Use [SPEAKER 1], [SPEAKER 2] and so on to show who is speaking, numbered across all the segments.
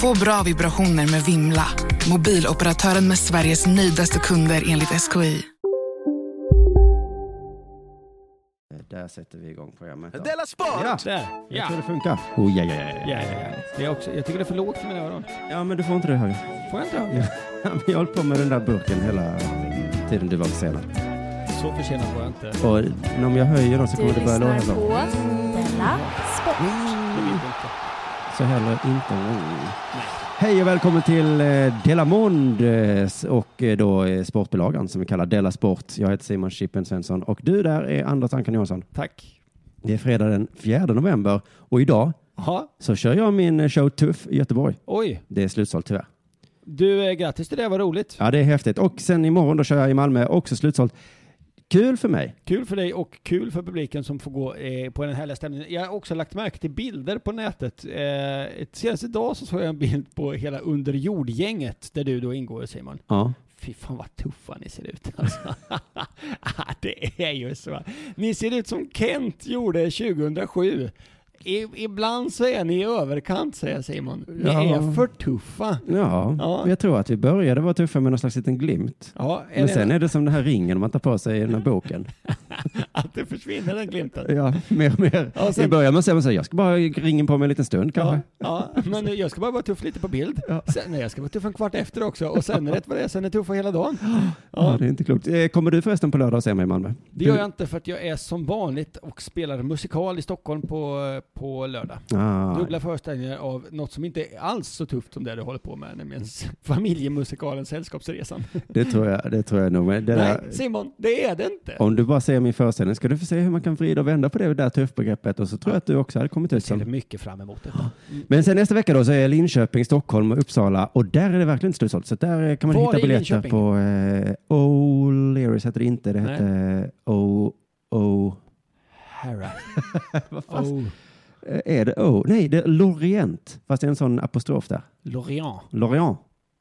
[SPEAKER 1] Få bra vibrationer med Vimla. Mobiloperatören med Sveriges nöjdaste kunder enligt SKI.
[SPEAKER 2] Eh, Där sätter vi igång programmet. då.
[SPEAKER 3] Della Sport!
[SPEAKER 2] Ja,
[SPEAKER 4] Där.
[SPEAKER 2] jag
[SPEAKER 4] Ja.
[SPEAKER 2] tror det funkar. Oh, ja, ja, ja,
[SPEAKER 4] Ja, ja, ja. Det är också, jag tycker det är för lågt för mina öron.
[SPEAKER 2] ja, men du får inte det högre.
[SPEAKER 4] Får jag inte höra?
[SPEAKER 2] Jag höll på med den där burken hela tiden du var försenad.
[SPEAKER 4] Så försenad var jag inte.
[SPEAKER 2] Och om jag höjer den så
[SPEAKER 5] Du
[SPEAKER 2] kommer det börja låta
[SPEAKER 5] lyssnar
[SPEAKER 2] så.
[SPEAKER 5] på Della Sport.
[SPEAKER 2] Så heller inte. Mm. Hej och välkommen till eh, Della Mond eh, s- och eh, då eh, sportbilagan som vi kallar Della Sport. Jag heter Simon Chippen Svensson och du där är Anders Ankan Johansson.
[SPEAKER 4] Tack.
[SPEAKER 2] Det är fredag den 4 november och idag
[SPEAKER 4] Ja,
[SPEAKER 2] så kör jag min eh, show Tuff i Göteborg.
[SPEAKER 4] oj.
[SPEAKER 2] Det är slutsålt tyvärr.
[SPEAKER 4] Du, eh, grattis till det, vad roligt.
[SPEAKER 2] Ja, det är häftigt. Och sen imorgon då kör jag i Malmö, också slutsålt. Kul för mig.
[SPEAKER 4] Kul för dig och kul för publiken som får gå eh, på den härliga stämningen. Jag har också lagt märke till bilder på nätet. Eh, senast idag så såg jag en bild på hela underjordgänget där du då ingår Simon.
[SPEAKER 2] Ja.
[SPEAKER 4] Fy fan vad tuffa ni ser ut alltså. Ah, Det är ju så. Ni ser ut som Kent gjorde 2007. I, ibland så är ni i överkant säger Simon. Ni
[SPEAKER 2] Ja.
[SPEAKER 4] är för tuffa.
[SPEAKER 2] Ja,
[SPEAKER 4] Ja.
[SPEAKER 2] jag tror att vi började vara tuffa med någon slags liten glimt.
[SPEAKER 4] Ja, är
[SPEAKER 2] Men
[SPEAKER 4] det-
[SPEAKER 2] sen är det som den här ringen man tar på sig i den här boken.
[SPEAKER 4] Att det försvinner den glimten.
[SPEAKER 2] Ja, mer och mer.
[SPEAKER 4] Ja, sen-
[SPEAKER 2] I början man säger man så här, jag ska bara ha ringen på mig en liten stund
[SPEAKER 4] Ja,
[SPEAKER 2] kanske.
[SPEAKER 4] ja, men jag ska bara vara tuff lite på bild.
[SPEAKER 2] Ja.
[SPEAKER 4] Sen, nej, jag ska vara tuff en kvart efter också. Och sen rätt vad det är, sen är tuffa hela dagen.
[SPEAKER 2] Ja.
[SPEAKER 4] Ja,
[SPEAKER 2] det är inte klokt. Eh, Kommer du förresten på lördag och se mig i Malmö?
[SPEAKER 4] det gör jag inte för att jag är som vanligt och spelar musikal i Stockholm på, på lördag.
[SPEAKER 2] Ah,
[SPEAKER 4] Dubbla föreställningar av något som inte är alls så tufft som det du håller på med, nämligen s-
[SPEAKER 2] Mm.
[SPEAKER 4] familjemusikalen Sällskapsresan.
[SPEAKER 2] det tror jag, det tror jag nog. Men det där,
[SPEAKER 4] Nej, Simon, det är det inte.
[SPEAKER 2] om du bara ser min föreställning ska du få se hur man kan vrida och vända på det där tuffbegreppet och så tror jag att du också hade kommit ut
[SPEAKER 4] Jag ser
[SPEAKER 2] som.
[SPEAKER 4] mycket fram emot det.
[SPEAKER 2] Men sen nästa vecka då så är jag Linköping, Stockholm och Uppsala och där är det verkligen inte slutsålt. Så där eh, kan man
[SPEAKER 4] Var
[SPEAKER 2] hitta
[SPEAKER 4] i
[SPEAKER 2] biljetter
[SPEAKER 4] Linköping?
[SPEAKER 2] på eh, O'Learys heter det inte. Det
[SPEAKER 4] Nej.
[SPEAKER 2] hette O... O...
[SPEAKER 4] Herra. oh,
[SPEAKER 2] eh, Är det O? Nej, det är Lorient. Fast det är en sån apostrof där.
[SPEAKER 4] Lorient.
[SPEAKER 2] Lorient.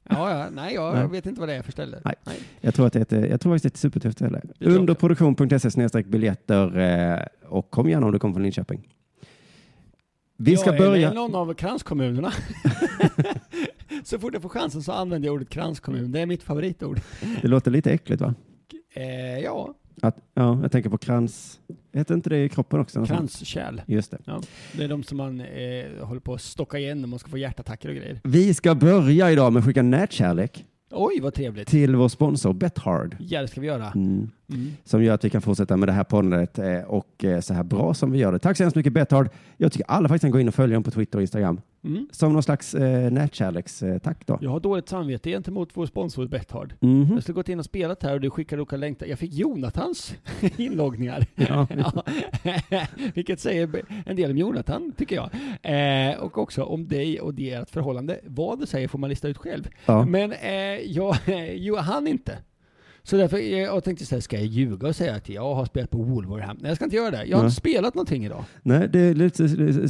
[SPEAKER 4] Ja, ja, nej, jag
[SPEAKER 2] Nej.
[SPEAKER 4] vet inte vad det är för ställe.
[SPEAKER 2] Nej. Jag tror att det är, jag tror faktiskt det är ett supertufft ställe.
[SPEAKER 4] tror jag
[SPEAKER 2] Under
[SPEAKER 4] också.
[SPEAKER 2] produktion.se E snedstreck biljetter eh, och kom gärna om du kommer från Linköping. Vi ska
[SPEAKER 4] ja,
[SPEAKER 2] börja.
[SPEAKER 4] Eller någon av kranskommunerna. så fort jag får chansen så använder jag ordet kranskommun. Det är mitt favoritord.
[SPEAKER 2] Det låter lite äckligt va?
[SPEAKER 4] Eh, ja,
[SPEAKER 2] Att, ja, jag tänker på krans. Heter inte det i kroppen också? någonstans?
[SPEAKER 4] kranskärl.
[SPEAKER 2] Just det.
[SPEAKER 4] Ja, det är de som man eh, håller på att stocka igen när man ska få hjärtattacker och grejer.
[SPEAKER 2] Vi ska börja idag med att skicka nätkärlek
[SPEAKER 4] Oj, vad trevligt.
[SPEAKER 2] till vår sponsor Bethard.
[SPEAKER 4] Ja, det ska vi göra.
[SPEAKER 2] Mm.
[SPEAKER 4] Mm.
[SPEAKER 2] Som gör att vi kan fortsätta med det här poddandet eh, och eh, så här bra som vi gör det. Tack så hemskt mycket Bethard. Jag tycker alla faktiskt kan gå in och följa dem på Twitter och Instagram.
[SPEAKER 4] Mm.
[SPEAKER 2] Som någon slags eh, nätkärlekstack då.
[SPEAKER 4] Jag har dåligt samvete gentemot vår sponsor Bethard.
[SPEAKER 2] Mhm.
[SPEAKER 4] Jag skulle gått in och spelat här och du skickade olika länkar. Jag fick Jonathans inloggningar.
[SPEAKER 2] Ja.
[SPEAKER 4] Ja. Vilket säger en del om Jonathan, tycker jag. Eh, och också om dig och det ert förhållande. Vad du säger får man lista ut själv.
[SPEAKER 2] Ja.
[SPEAKER 4] Men eh, jag, jo, han inte. Så därför eh, jag tänkte så här, ska jag ljuga och säga att jag har spelat på Wolverhampton? Nej, jag ska inte göra det. Jag har
[SPEAKER 2] Nej.
[SPEAKER 4] inte spelat någonting idag.
[SPEAKER 2] Nej, det är lite,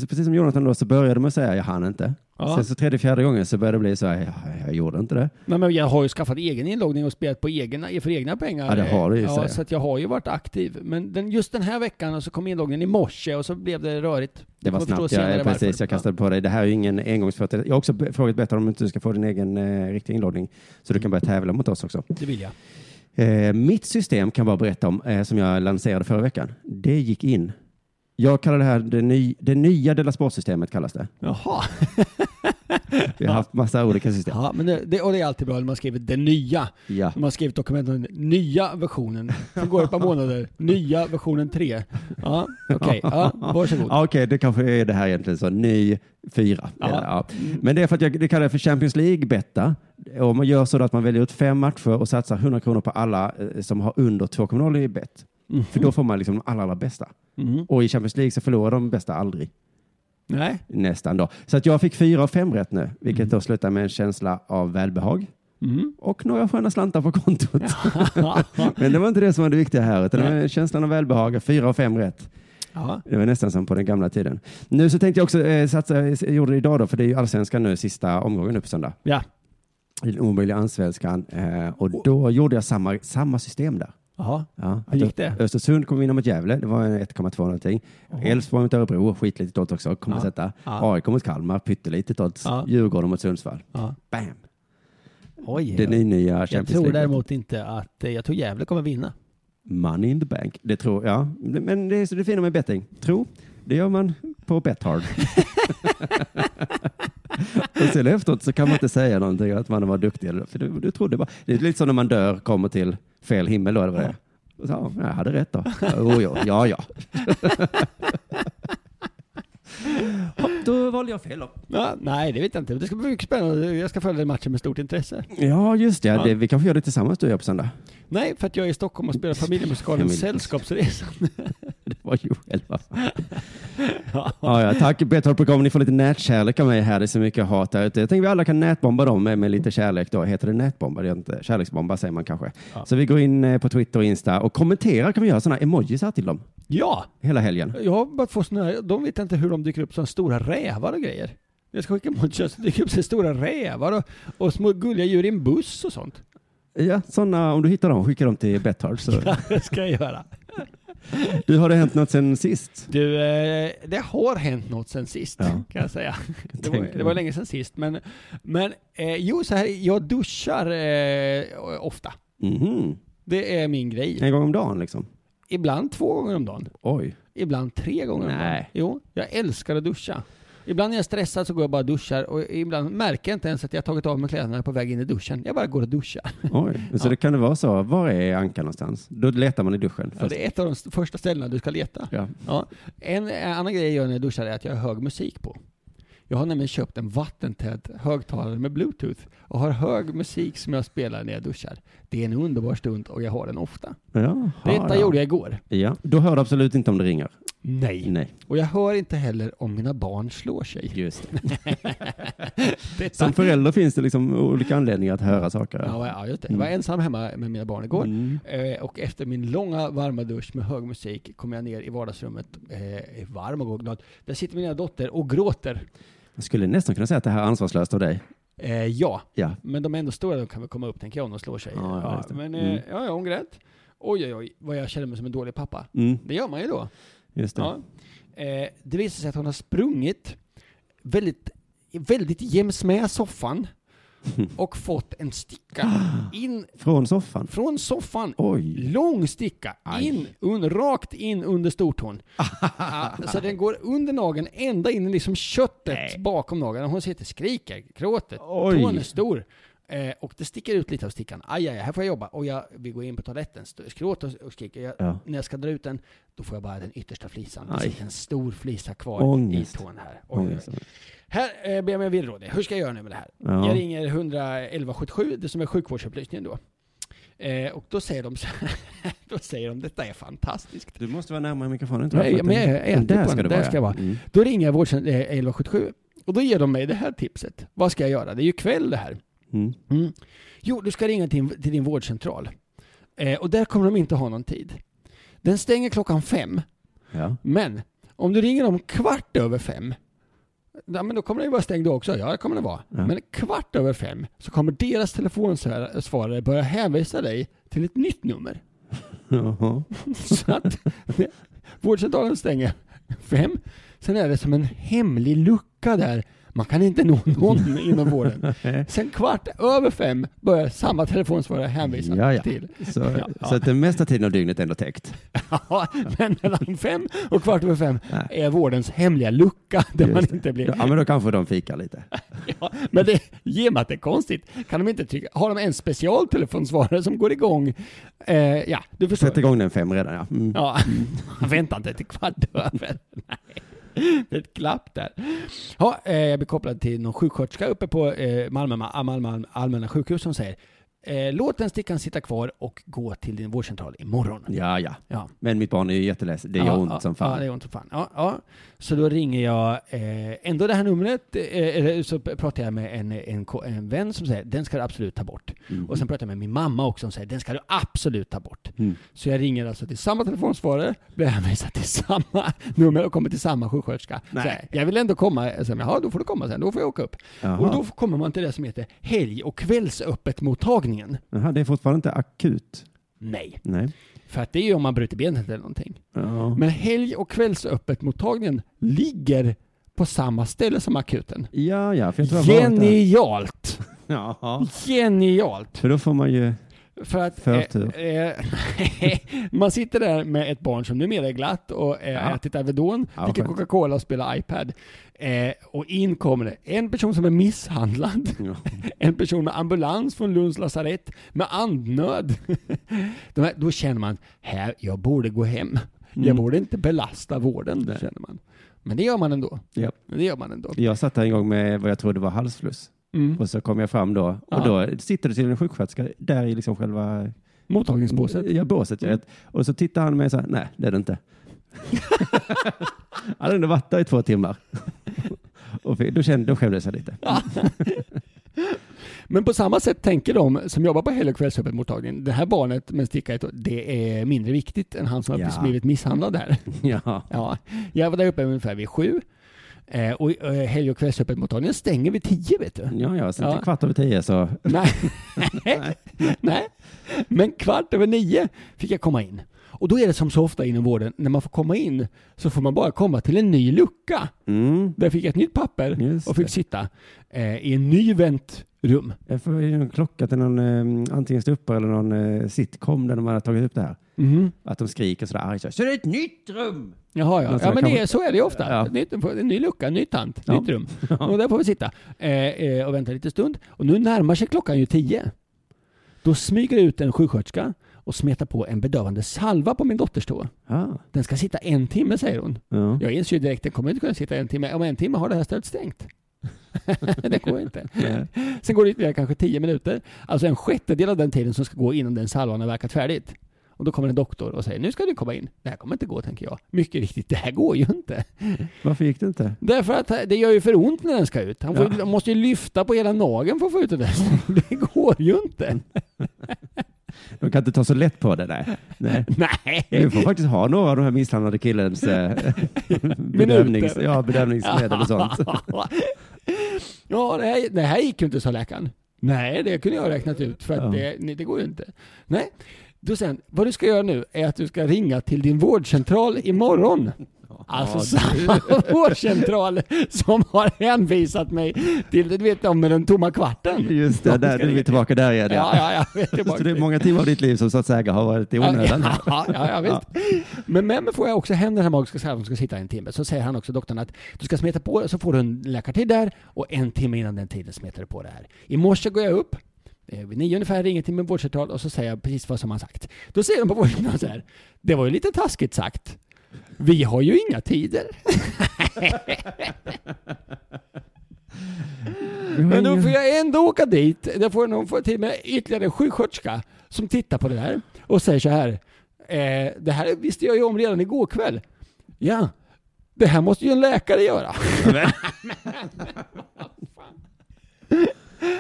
[SPEAKER 2] precis som Jonathan då så började man säga jag hann inte.
[SPEAKER 4] Ja.
[SPEAKER 2] Sen så tredje, fjärde gången så började det bli så här, jag, jag gjorde inte det.
[SPEAKER 4] Nej, men jag har ju skaffat egen inloggning och spelat på egna, för egna pengar.
[SPEAKER 2] Ja, det har du ju,
[SPEAKER 4] Ja,
[SPEAKER 2] säger.
[SPEAKER 4] så att jag har ju varit aktiv. Men den, just den här veckan så kom inloggningen i morse och så blev det rörigt.
[SPEAKER 2] Det var
[SPEAKER 4] Man förstår
[SPEAKER 2] snabbt,
[SPEAKER 4] senare
[SPEAKER 2] jag, precis,
[SPEAKER 4] varför.
[SPEAKER 2] jag kastade på dig. Det här är ju ingen engångsföreteelse. Jag har också be- frågat Bethard om inte du ska få din egen eh, riktiga inloggning så du
[SPEAKER 4] Mm.
[SPEAKER 2] kan börja tävla mot oss också.
[SPEAKER 4] Ja, det vill jag.
[SPEAKER 2] Eh, mitt system kan jag bara berätta om eh, som jag lanserade förra veckan. Det gick in. Jag kallar det här det, ny, det nya Della Sport-systemet kallas det.
[SPEAKER 4] Jaha.
[SPEAKER 2] Vi har haft massa olika system.
[SPEAKER 4] Ja, men det, det, och det är alltid bra när man skriver den nya.
[SPEAKER 2] Ja.
[SPEAKER 4] Man har skrivit dokumenten nya versionen. Sen går det ett par månader. Nya versionen 3. Ja, okej. Ja, varsågod.
[SPEAKER 2] Ja, Okej, det kanske är det här egentligen så. Ny fyra.
[SPEAKER 4] Ja.
[SPEAKER 2] Eller, ja. Men det är för att jag det kallar jag för Champions League-betta. Och man gör så att man väljer ut fem matcher och satsar 100 kronor på alla eh, som har under 2,0 i bett.
[SPEAKER 4] Mm.
[SPEAKER 2] För då får man liksom de allra, allra bästa.
[SPEAKER 4] Mhm.
[SPEAKER 2] Och i Champions League så förlorar de bästa aldrig.
[SPEAKER 4] Nej.
[SPEAKER 2] Nästan då. Så att jag fick fyra av fem rätt nu, vilket då slutar med en känsla av välbehag
[SPEAKER 4] Mm.
[SPEAKER 2] och några sköna slantar på kontot. Men det var inte det som var det viktiga här, utan det var känslan av välbehag, fyra av fem rätt.
[SPEAKER 4] Ja.
[SPEAKER 2] Det var nästan som på den gamla tiden. Nu så tänkte jag också eh, satsa, jag gjorde det idag då, för det är ju allsvenskan nu, sista omgången nu på söndag.
[SPEAKER 4] Ja.
[SPEAKER 2] I den omöjliga allsvenskan. Eh, och då gjorde jag samma, samma system där.
[SPEAKER 4] Jaha.
[SPEAKER 2] Ja,
[SPEAKER 4] Hur gick
[SPEAKER 2] att Ö-
[SPEAKER 4] det?
[SPEAKER 2] Östersund kommer vinna mot Gävle, det var en 1,2 någonting. Elfsborg mot Örebro, skitlitet odds också, kommer
[SPEAKER 4] Ja.
[SPEAKER 2] sätta.
[SPEAKER 4] Ja.
[SPEAKER 2] AIK mot Kalmar, pyttelitet odds.
[SPEAKER 4] Ja.
[SPEAKER 2] Djurgården mot Sundsvall.
[SPEAKER 4] Ja.
[SPEAKER 2] Bam!
[SPEAKER 4] Oj.
[SPEAKER 2] Det är ny, nya
[SPEAKER 4] jag
[SPEAKER 2] Champions
[SPEAKER 4] tror
[SPEAKER 2] League.
[SPEAKER 4] däremot inte att, eh, jag tror Gävle kommer vinna.
[SPEAKER 2] Money in the bank. Det tror jag. Men det är så det fina med betting. Tro, det gör man på Bethard. och sen efteråt så kan man inte säga någonting att man var duktig. eller- För du, du trodde bara. Det är lite som när man dör kommer till fel himmel. Då, eller vad det är. Och så, ja, jag hade rätt då. Oh, ja, ja, ja. Hopp, då valde jag fel då.
[SPEAKER 4] Ja, nej, det vet jag inte. Det ska bli mycket spännande. Jag ska följa den matchen med stort intresse.
[SPEAKER 2] Ja, just det. det vi kanske gör det tillsammans du och jag på söndag.
[SPEAKER 4] Nej, för att jag är i Stockholm och spelar familjemusikalen
[SPEAKER 2] Familjemusikal.
[SPEAKER 4] Sällskapsresan.
[SPEAKER 2] Det var Joel va? ja, ja, tack Betthard.com, ni får lite nätkärlek av mig här. Det är så mycket hat där ute. Jag tänker vi alla kan nätbomba dem med, med lite kärlek då. Heter det nätbomba? Det gör inte. Kärleksbomba säger man kanske. Så vi går in eh, på Twitter och Insta och kommenterar kan vi göra sådana emojis här till dem
[SPEAKER 4] Ja,
[SPEAKER 2] hela helgen.
[SPEAKER 4] jag har börjat få såna här, de vet inte hur de dyker upp som stora rävar och grejer. Jag ska skicka emot kött så dyker upp så stora rävar och, och små gulliga djur i en buss och sånt.
[SPEAKER 2] Ja, sådana, om du hittar dem, skicka dem till Betthard. Så.
[SPEAKER 4] Det ska jag göra.
[SPEAKER 2] Du, har det hänt något sen sist?
[SPEAKER 4] Du, eh, det har hänt något sen sist
[SPEAKER 2] Ja.
[SPEAKER 4] kan jag säga. Det var,
[SPEAKER 2] tänker
[SPEAKER 4] det var
[SPEAKER 2] det.
[SPEAKER 4] länge sen sist, men, men eh, jo, så här, jag duschar eh, ofta.
[SPEAKER 2] Mhm.
[SPEAKER 4] Det är min grej.
[SPEAKER 2] En gång om dagen liksom?
[SPEAKER 4] Ibland två gånger om dagen.
[SPEAKER 2] Oj.
[SPEAKER 4] Ibland tre gånger om dagen.
[SPEAKER 2] Nej.
[SPEAKER 4] Jo, jag älskar att duscha. Ibland när jag är stressad så går jag bara och duschar och ibland märker jag inte ens att jag har tagit av mig kläderna på väg in i duschen. Jag bara går och duschar.
[SPEAKER 2] Oj. Så det kan det vara så. Var är Anka någonstans? Då letar man i duschen.
[SPEAKER 4] Ja,
[SPEAKER 2] Först.
[SPEAKER 4] det är ett av de st- första ställena du ska leta.
[SPEAKER 2] Ja.
[SPEAKER 4] Ja. En eh, annan grej jag gör när jag duschar är att jag har hög musik på. Jag har nämligen köpt en vattentät högtalare med bluetooth och har hög musik som jag spelar när jag duschar. Det är en underbar stund och jag har den ofta.
[SPEAKER 2] Jaha,
[SPEAKER 4] Detta
[SPEAKER 2] ja.
[SPEAKER 4] gjorde jag igår.
[SPEAKER 2] Ja, då hör du absolut inte om det ringer.
[SPEAKER 4] Nej.
[SPEAKER 2] Nej,
[SPEAKER 4] Och jag hör inte heller om mina barn slår sig.
[SPEAKER 2] just det.
[SPEAKER 4] Detta
[SPEAKER 2] Som förälder finns det liksom olika anledningar att höra saker.
[SPEAKER 4] Ja, ja just det. Jag var ensam hemma med mina barn igår.
[SPEAKER 2] Mm.
[SPEAKER 4] Eh, och efter min långa varma dusch med hög musik kom jag ner i vardagsrummet, eh, varm och glad. Där sitter mina dotter och gråter.
[SPEAKER 2] Jag skulle nästan kunna säga att det här är ansvarslöst av dig.
[SPEAKER 4] Eh, ja,
[SPEAKER 2] Ja,
[SPEAKER 4] men de är ändå stora, de kan väl komma upp tänker jag om de slår sig.
[SPEAKER 2] Ja, ja, just det.
[SPEAKER 4] men
[SPEAKER 2] Mm.
[SPEAKER 4] eh, ja, ja, hon grät. Oj, oj, oj, vad jag känner mig som en dålig pappa.
[SPEAKER 2] mm.
[SPEAKER 4] Det gör man ju då.
[SPEAKER 2] just det.
[SPEAKER 4] Ja. Eh, det visar sig att hon har sprungit väldigt, väldigt jäms med soffan och fått en sticka in
[SPEAKER 2] Från soffan.
[SPEAKER 4] från soffan
[SPEAKER 2] Oj,
[SPEAKER 4] Lång sticka,
[SPEAKER 2] Aj.
[SPEAKER 4] in, un, rakt in under stortån. Ja, så den går under nageln, ända in i liksom köttet bakom nageln. Och Hon sitter, skriker, gråter,
[SPEAKER 2] Oj.
[SPEAKER 4] tån är stor. Eh, och det sticker ut lite av stickan. Aj, aj, här får jag jobba. Och jag vill gå in på toaletten, st- gråter och- och skriker. Jag,
[SPEAKER 2] Ja.
[SPEAKER 4] När jag ska dra ut den, då får jag bara den yttersta flisan. Det
[SPEAKER 2] Aj.
[SPEAKER 4] sitter en stor flisa kvar
[SPEAKER 2] Ångest.
[SPEAKER 4] i tån här. Oj, oj, oj.
[SPEAKER 2] ångest.
[SPEAKER 4] Här eh, ber jag mig villrådig. Hur ska jag göra nu med det här?
[SPEAKER 2] Ja.
[SPEAKER 4] Jag ringer 11177, det som är sjukvårdsupplysningen då. Eh, och då säger de så här, då säger de detta är fantastiskt.
[SPEAKER 2] Du måste vara närmare mikrofonen. tror
[SPEAKER 4] Nej,
[SPEAKER 2] för att
[SPEAKER 4] men jag
[SPEAKER 2] den-
[SPEAKER 4] är ätit
[SPEAKER 2] där
[SPEAKER 4] på
[SPEAKER 2] ska
[SPEAKER 4] den,
[SPEAKER 2] du
[SPEAKER 4] där ska jag vara.
[SPEAKER 2] Mm.
[SPEAKER 4] Då ringer jag vårdcent- eh, 1177 och då ger de mig det här tipset. Vad ska jag göra? Det är ju kväll det här.
[SPEAKER 2] Mm.
[SPEAKER 4] Mm. Jo, du ska ringa till, din- till din vårdcentral. Eh, och där kommer de inte ha någon tid. Den stänger klockan fem.
[SPEAKER 2] Ja.
[SPEAKER 4] Men om du ringer om kvart över fem, ja, men då kommer den ju vara stängd då också. Ja, det kommer den vara.
[SPEAKER 2] Ja.
[SPEAKER 4] Men kvart över fem så kommer deras telefonsvarare börja hänvisa dig till ett nytt nummer.
[SPEAKER 2] Jaha.
[SPEAKER 4] så att vårdcentralen stänger fem. Sen är det som en hemlig lucka där. Man kan inte nå någon inom vården. Sen kvart över fem börjar samma telefonsvarare hänvisa
[SPEAKER 2] Ja, ja.
[SPEAKER 4] till.
[SPEAKER 2] Så,
[SPEAKER 4] Ja, ja.
[SPEAKER 2] så att den mesta tiden av dygnet är ändå täckt.
[SPEAKER 4] Ja, men mellan fem och kvart över fem
[SPEAKER 2] Nej.
[SPEAKER 4] är vårdens hemliga lucka där
[SPEAKER 2] Just
[SPEAKER 4] man
[SPEAKER 2] det.
[SPEAKER 4] inte blir
[SPEAKER 2] Ja, men då kanske de fikar lite.
[SPEAKER 4] ja, men det, ge mig att det är konstigt. Kan de inte trycka, har de en specialtelefonsvarare som går igång? Eh, ja, du förstår.
[SPEAKER 2] Sätt igång den fem redan ja. Mm.
[SPEAKER 4] Ja, han väntar inte till kvart över. Nej. Det är ett klapp där. Ja, eh, jag blir kopplad till någon sjuksköterska uppe på eh, Malmö, Ma- Malmö allmänna sjukhus som säger eh, låt den stickan sitta kvar och gå till din vårdcentral imorgon.
[SPEAKER 2] Ja, ja.
[SPEAKER 4] Ja.
[SPEAKER 2] Men mitt barn är ju jätteledsen. Det gör
[SPEAKER 4] ja,
[SPEAKER 2] ont
[SPEAKER 4] ja,
[SPEAKER 2] som
[SPEAKER 4] Ja,
[SPEAKER 2] fan.
[SPEAKER 4] det gör ont som fan. Ja, ja. Så då ringer jag eh, ändå det här numret, eh, eller så pratar jag med en, en, ko- en vän som säger den ska du absolut ta bort.
[SPEAKER 2] Mm.
[SPEAKER 4] Och sen pratar jag med min mamma också som säger den ska du absolut ta bort.
[SPEAKER 2] Mm.
[SPEAKER 4] Så jag ringer alltså till samma telefonsvarare, blir hänvisad till samma nummer och kommer till samma sjuksköterska. Så här, jag vill ändå komma, sen, jaha då får du komma sen, då får jag åka upp.
[SPEAKER 2] Jaha.
[SPEAKER 4] Och då kommer man till det som heter helg och kvällsöppet-mottagningen.
[SPEAKER 2] Jaha, det är fortfarande inte akut.
[SPEAKER 4] Nej,
[SPEAKER 2] Nej.
[SPEAKER 4] för att det är ju om man bryter benet eller någonting.
[SPEAKER 2] Ja.
[SPEAKER 4] Men helg och kvällsöppetmottagningen ligger på samma ställe som akuten.
[SPEAKER 2] Ja, ja. För jag tror jag har varit där.
[SPEAKER 4] Genialt!
[SPEAKER 2] Ja.
[SPEAKER 4] Genialt!
[SPEAKER 2] För då får man ju...
[SPEAKER 4] För att
[SPEAKER 2] Förtur.
[SPEAKER 4] eh, eh, man sitter där med ett barn som numera är glatt och eh,
[SPEAKER 2] Ja.
[SPEAKER 4] ätit Alvedon,
[SPEAKER 2] Ja,
[SPEAKER 4] dricker
[SPEAKER 2] skönt.
[SPEAKER 4] Coca-Cola och spelar iPad. Eh, och in kommer det en person som är misshandlad, en person med ambulans från Lunds lasarett med andnöd. De här, då känner man, här, jag borde gå hem.
[SPEAKER 2] Mm.
[SPEAKER 4] Jag borde inte belasta vården, känner man. Men det gör man ändå.
[SPEAKER 2] Ja.
[SPEAKER 4] Det gör man ändå.
[SPEAKER 2] Jag satt där en gång med vad jag trodde var halsfluss. Och så kom jag fram då och då sitter det till en sjuksköterska där i liksom själva
[SPEAKER 4] Mottagningsbåset.
[SPEAKER 2] Ja, båset. Mm. Och så tittar han mig så här, nej det är det inte. han hade ändå varit där i två timmar. och fi- då, kände, då skämdes jag lite.
[SPEAKER 4] Men på samma sätt tänker de som jobbar på helg och kvällsöppetmottagningen, det här barnet med sticka i ett- det är mindre viktigt än han som
[SPEAKER 2] Ja.
[SPEAKER 4] har blivit misshandlad här.
[SPEAKER 2] ja.
[SPEAKER 4] Ja, jag var där uppe ungefär vid sju eh, och eh, helg och kvällsöppetmottagningen stänger vid tio vet du.
[SPEAKER 2] Ja, ja, sen till
[SPEAKER 4] Ja.
[SPEAKER 2] kvart över tio så.
[SPEAKER 4] Nej. Nej. Men kvart över nio fick jag komma in. Och då är det som så ofta inom vården, när man får komma in så får man bara komma till en ny lucka.
[SPEAKER 2] Mm.
[SPEAKER 4] Där fick jag ett nytt papper
[SPEAKER 2] Just
[SPEAKER 4] och fick
[SPEAKER 2] det.
[SPEAKER 4] sitta eh, i en ny väntrum.
[SPEAKER 2] Jag får ju en klocka till någon, eh, antingen ståuppare eller någon eh, sitcom där de har tagit upp det här. Att de skriker sådär argt. Så, så det är ett nytt rum!
[SPEAKER 4] Jaha, ja.
[SPEAKER 2] Alltså,
[SPEAKER 4] ja men det,
[SPEAKER 2] kanske-
[SPEAKER 4] är- så är det ju ofta.
[SPEAKER 2] Ja.
[SPEAKER 4] Ett nytt, en ny lucka, en ny tant,
[SPEAKER 2] Ja.
[SPEAKER 4] nytt rum. Och där får vi sitta eh, eh, och vänta lite stund. Och nu närmar sig klockan ju tio. Då smyger det ut en sjuksköterska och smetar på en bedövande salva på min dotters tå.
[SPEAKER 2] Ah,
[SPEAKER 4] Den ska sitta en timme, säger hon.
[SPEAKER 2] ja.
[SPEAKER 4] Jag inser ju direkt, den kommer inte kunna sitta en timme. Om en timme har det här stället stängt. det går inte. Sen går det ytterligare kanske tio minuter. Alltså en sjättedel av den tiden som ska gå innan den salvan har verkat färdigt. Och då kommer en doktor och säger, nu ska du komma in. Det här kommer inte gå, tänker jag. Mycket riktigt, det här går ju inte.
[SPEAKER 2] Varför gick det inte?
[SPEAKER 4] Därför att det gör ju för ont när den ska ut. Han, får, ju- han måste ju lyfta på hela nageln för att få ut den. Det går ju inte.
[SPEAKER 2] De kan inte ta så lätt på det. Nej. nej.
[SPEAKER 4] Nej.
[SPEAKER 2] Vi får faktiskt ha några av de här misshandlade killens eh, bedövnings, ja, bedövningsmedel och sånt.
[SPEAKER 4] ja, det här, det här gick ju inte, sa läkaren. Nej, det kunde jag ha räknat ut för att det, nej, det går ju inte. Nej. Då sen, vad du ska göra nu är att du ska ringa till din vårdcentral imorgon. Alltså samma vårdcentral som har hänvisat mig till, du vet de med den tomma kvarten.
[SPEAKER 2] Just det, där, nu är vi tillbaka där igen.
[SPEAKER 4] Ja, ja, ja. jag vet tillbaka
[SPEAKER 2] Så det är
[SPEAKER 4] till-
[SPEAKER 2] många timmar av ditt liv som så att säga har varit i onödan.
[SPEAKER 4] Ja, ja, ja, ja, visst. Men, men får jag också hem den här magiska salvan som ska sitta en timme så säger han också doktorn att du ska smeta på så får du en läkartid där och en timme innan den tiden smetar du på det här. I morse går jag upp eh, vid nio ungefär ringer till min vårdcentral och så säger jag precis vad som har sagt. Då säger de på vårdcentralen så här. Det var ju lite taskigt sagt. Vi har ju inga tider. Men
[SPEAKER 2] Mm.
[SPEAKER 4] då får jag ändå åka dit. Där får jag någon få till med ytterligare en sjuksköterska som tittar på det där och säger så här. Eh, det här visste jag ju om redan igår kväll. Ja, det här måste ju en läkare göra.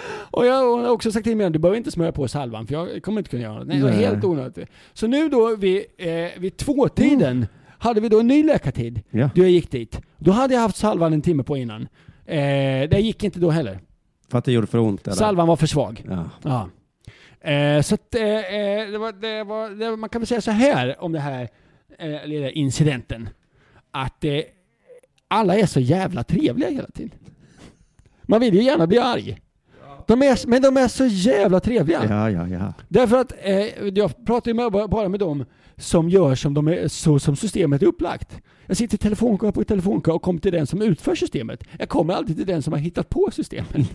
[SPEAKER 4] Och jag har också sagt till mig att du behöver inte smörja på salvan för jag kommer inte kunna göra det. Nej, det var
[SPEAKER 2] Nej.
[SPEAKER 4] helt onödigt. Så nu då vid, eh, vid tvåtiden hade vi då en ny läkartid.
[SPEAKER 2] Mm. Ja.
[SPEAKER 4] Då jag gick dit. Då hade jag haft salvan en timme på innan. Eh, det gick inte då heller.
[SPEAKER 2] För att det gjorde för ont? Eller?
[SPEAKER 4] Salvan var för svag.
[SPEAKER 2] Ja.
[SPEAKER 4] Ja. Eh, så att, eh, eh, det var, det var, det var, man kan väl säga så här om den här eh, lilla incidenten. Att eh, alla är så jävla trevliga hela tiden. Man vill ju gärna bli arg. De är, men de är så jävla trevliga.
[SPEAKER 2] ja, ja, ja.
[SPEAKER 4] Därför att eh, jag pratar ju med, bara med dem som gör som de är, så som systemet är upplagt. Jag sitter i telefonkö på telefonkö och kommer till den som utför systemet. Jag kommer alltid till den som har hittat på systemet.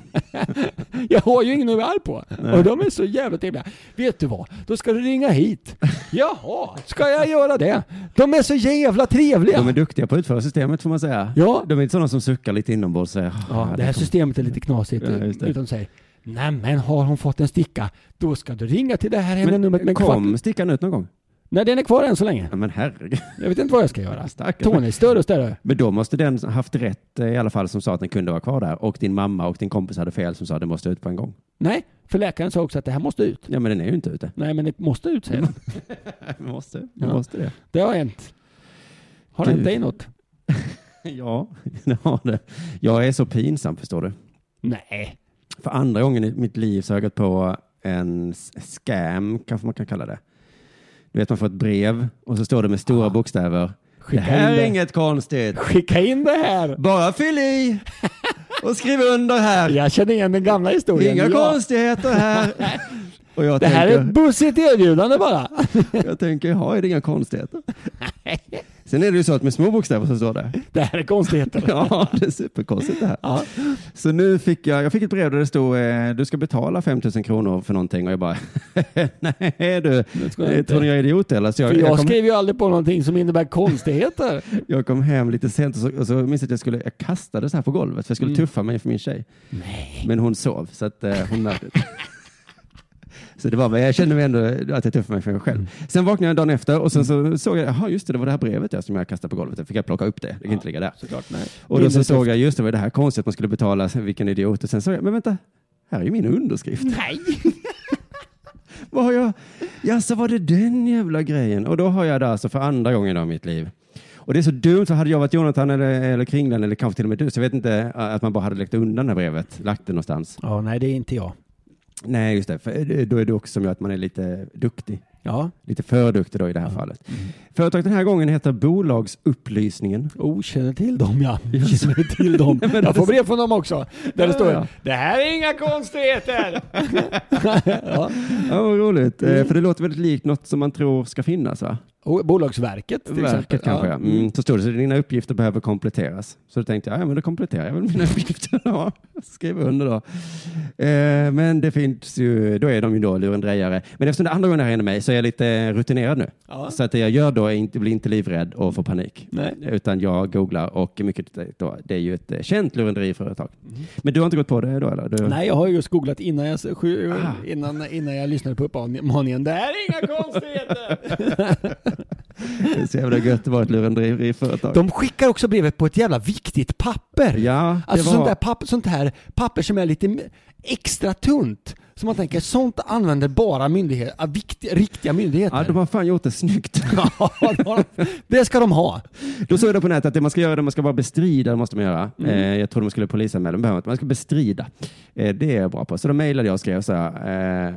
[SPEAKER 4] jag har ju ingen att vara arg på. Och de är så jävla trevliga. Vet du vad? Då ska du ringa hit. Jaha, ska jag göra det? De är så jävla trevliga.
[SPEAKER 2] De är duktiga på att utföra systemet får man säga.
[SPEAKER 4] Ja.
[SPEAKER 2] De är inte sådana som suckar lite inombords och säger "Ah,
[SPEAKER 4] Ja, det här
[SPEAKER 2] kom-
[SPEAKER 4] systemet är lite knasigt.
[SPEAKER 2] Ja, just det.
[SPEAKER 4] utan de säger, nej men har hon fått en sticka, då ska du ringa till det här hemliga numret.
[SPEAKER 2] Men
[SPEAKER 4] Men kvart...
[SPEAKER 2] kom stickan ut någon gång.
[SPEAKER 4] Nej, den är kvar än så länge.
[SPEAKER 2] Ja, men herregud.
[SPEAKER 4] Jag vet inte vad jag ska göra.
[SPEAKER 2] Stackars.
[SPEAKER 4] Tony, större och större.
[SPEAKER 2] Men då måste den haft rätt eh, i alla fall som sa att den kunde vara kvar där och din mamma och din kompis hade fel som sa att den måste ut på en gång.
[SPEAKER 4] Nej, för läkaren sa också att det här måste ut.
[SPEAKER 2] Ja men den är ju inte ute.
[SPEAKER 4] Nej, men det måste ut, säger han.
[SPEAKER 2] måste, den
[SPEAKER 4] Ja.
[SPEAKER 2] måste det.
[SPEAKER 4] Det har hänt. Har det
[SPEAKER 2] Du-
[SPEAKER 4] hänt dig något?
[SPEAKER 2] Ja, det har det. Jag är så pinsam förstår du.
[SPEAKER 4] Nej.
[SPEAKER 2] För andra gången i mitt liv så har jag gått på en s- scam, kanske man kan kalla det. Du vet man får ett brev och så står det med
[SPEAKER 4] Ah.
[SPEAKER 2] stora bokstäver. Det
[SPEAKER 4] Skicka
[SPEAKER 2] här
[SPEAKER 4] in
[SPEAKER 2] är
[SPEAKER 4] det.
[SPEAKER 2] inget konstigt.
[SPEAKER 4] Skicka in det här!
[SPEAKER 2] Bara fyll i och skriv under här.
[SPEAKER 4] Jag känner igen den gamla historien.
[SPEAKER 2] Inga
[SPEAKER 4] Ja.
[SPEAKER 2] konstigheter här. Och jag
[SPEAKER 4] Det här är ett
[SPEAKER 2] tänker,
[SPEAKER 4] bussigt erbjudande bara.
[SPEAKER 2] jag tänker, jaha, är det inga konstigheter? Sen är det ju så att med små bokstäver så står det.
[SPEAKER 4] Det här är konstigheter.
[SPEAKER 2] Ja, det är superkonstigt det här.
[SPEAKER 4] Ja.
[SPEAKER 2] Så nu fick jag, jag fick ett brev där det stod eh, du ska betala 5 000 kronor för någonting och jag bara nej du,
[SPEAKER 4] ska jag
[SPEAKER 2] Eh,
[SPEAKER 4] inte.
[SPEAKER 2] tror ni jag är idiot eller? Så
[SPEAKER 4] För
[SPEAKER 2] jag, jag,
[SPEAKER 4] jag
[SPEAKER 2] kom,
[SPEAKER 4] skriver ju aldrig på någonting som innebär konstigheter.
[SPEAKER 2] jag kom hem lite sent och så, och så minns jag att jag skulle, jag kastade så här på golvet för jag skulle
[SPEAKER 4] Mm.
[SPEAKER 2] tuffa mig för min tjej. Men hon sov så att eh, hon märkte det. Så det var, men jag kände mig ändå att jag tuffade mig för mig
[SPEAKER 4] Mm.
[SPEAKER 2] själv. Sen vaknade jag dagen efter och sen så såg jag, jaha just det, det var det här brevet där som jag kastade på golvet. Då fick jag plocka upp det, det kan inte ligga där.
[SPEAKER 4] Såklart, nej.
[SPEAKER 2] Och då så såg jag, just det, var det här konstigt att man skulle betala, vilken idiot. Och sen såg jag, men vänta, här är ju min underskrift.
[SPEAKER 4] Nej!
[SPEAKER 2] Vad har jag? Ja, så var det den jävla grejen. Och då har jag det alltså för andra gången i mitt liv. Och det är så dumt, för hade jag varit Jonathan eller, eller Kringlan eller kanske till och med du, så jag vet inte ä, att man bara hade läckt undan det här brevet, lagt det någonstans.
[SPEAKER 4] Ja, nej det är inte jag.
[SPEAKER 2] Nej, just det, för eh, då är det också som gör att man är lite duktig.
[SPEAKER 4] Ja.
[SPEAKER 2] Lite för duktig då i det
[SPEAKER 4] Mm.
[SPEAKER 2] här fallet. Företaget den här gången heter Bolagsupplysningen.
[SPEAKER 4] Oh, känner till dem ja. Känner till dem. Jag får brev från dem också. Där det står Det här är inga konstigheter! ja.
[SPEAKER 2] Ja, vad roligt. Eh,
[SPEAKER 4] Mm.
[SPEAKER 2] För det låter väldigt likt något som man tror ska finnas, va?
[SPEAKER 4] Och Bolagsverket till exempel.
[SPEAKER 2] Verket kanske, ja. Mm, så stod det så dina uppgifter behöver kompletteras. Så då tänkte jag, ja men då kompletterar jag väl mina uppgifter. Ja, Skriv under då. Eh, men det finns ju, då är de ju då lurendrejare. Men eftersom det andra gången det här hände mig så är jag lite rutinerad nu.
[SPEAKER 4] Ja.
[SPEAKER 2] Så att det jag gör då är inte, blir inte livrädd och får panik.
[SPEAKER 4] Nej.
[SPEAKER 2] Eh, Utan jag googlar och mycket då, det är ju ett eh, känt lurendriföretag. Men du har inte gått på det då eller? Du,
[SPEAKER 4] Nej, jag har ju just googlat innan jag, sju,
[SPEAKER 2] Ah.
[SPEAKER 4] innan, innan jag lyssnade på uppmaningen. Det här är inga konstigheter!
[SPEAKER 2] Det är så jävla gött att vara ett lurendriföretag.
[SPEAKER 4] De skickar också brevet på ett jävla viktigt papper.
[SPEAKER 2] Ja, det
[SPEAKER 4] Alltså
[SPEAKER 2] var-
[SPEAKER 4] sånt, där papper, sånt här papper som är lite m- extra tunt. Så man tänker, sånt använder bara myndigheter, ah, viktiga, riktiga myndigheter.
[SPEAKER 2] Ja, de har fan gjort det snyggt.
[SPEAKER 4] Ja, det har de. det ska de ha.
[SPEAKER 2] Då såg jag det på nätet att det man ska göra, det man ska bara bestrida, det måste man göra.
[SPEAKER 4] Mm.
[SPEAKER 2] Eh, jag trodde man skulle polisanmäla, men behöver inte. Man ska bestrida. Eh, det är jag bra på. Så då mejlade jag och skrev så här. Eh,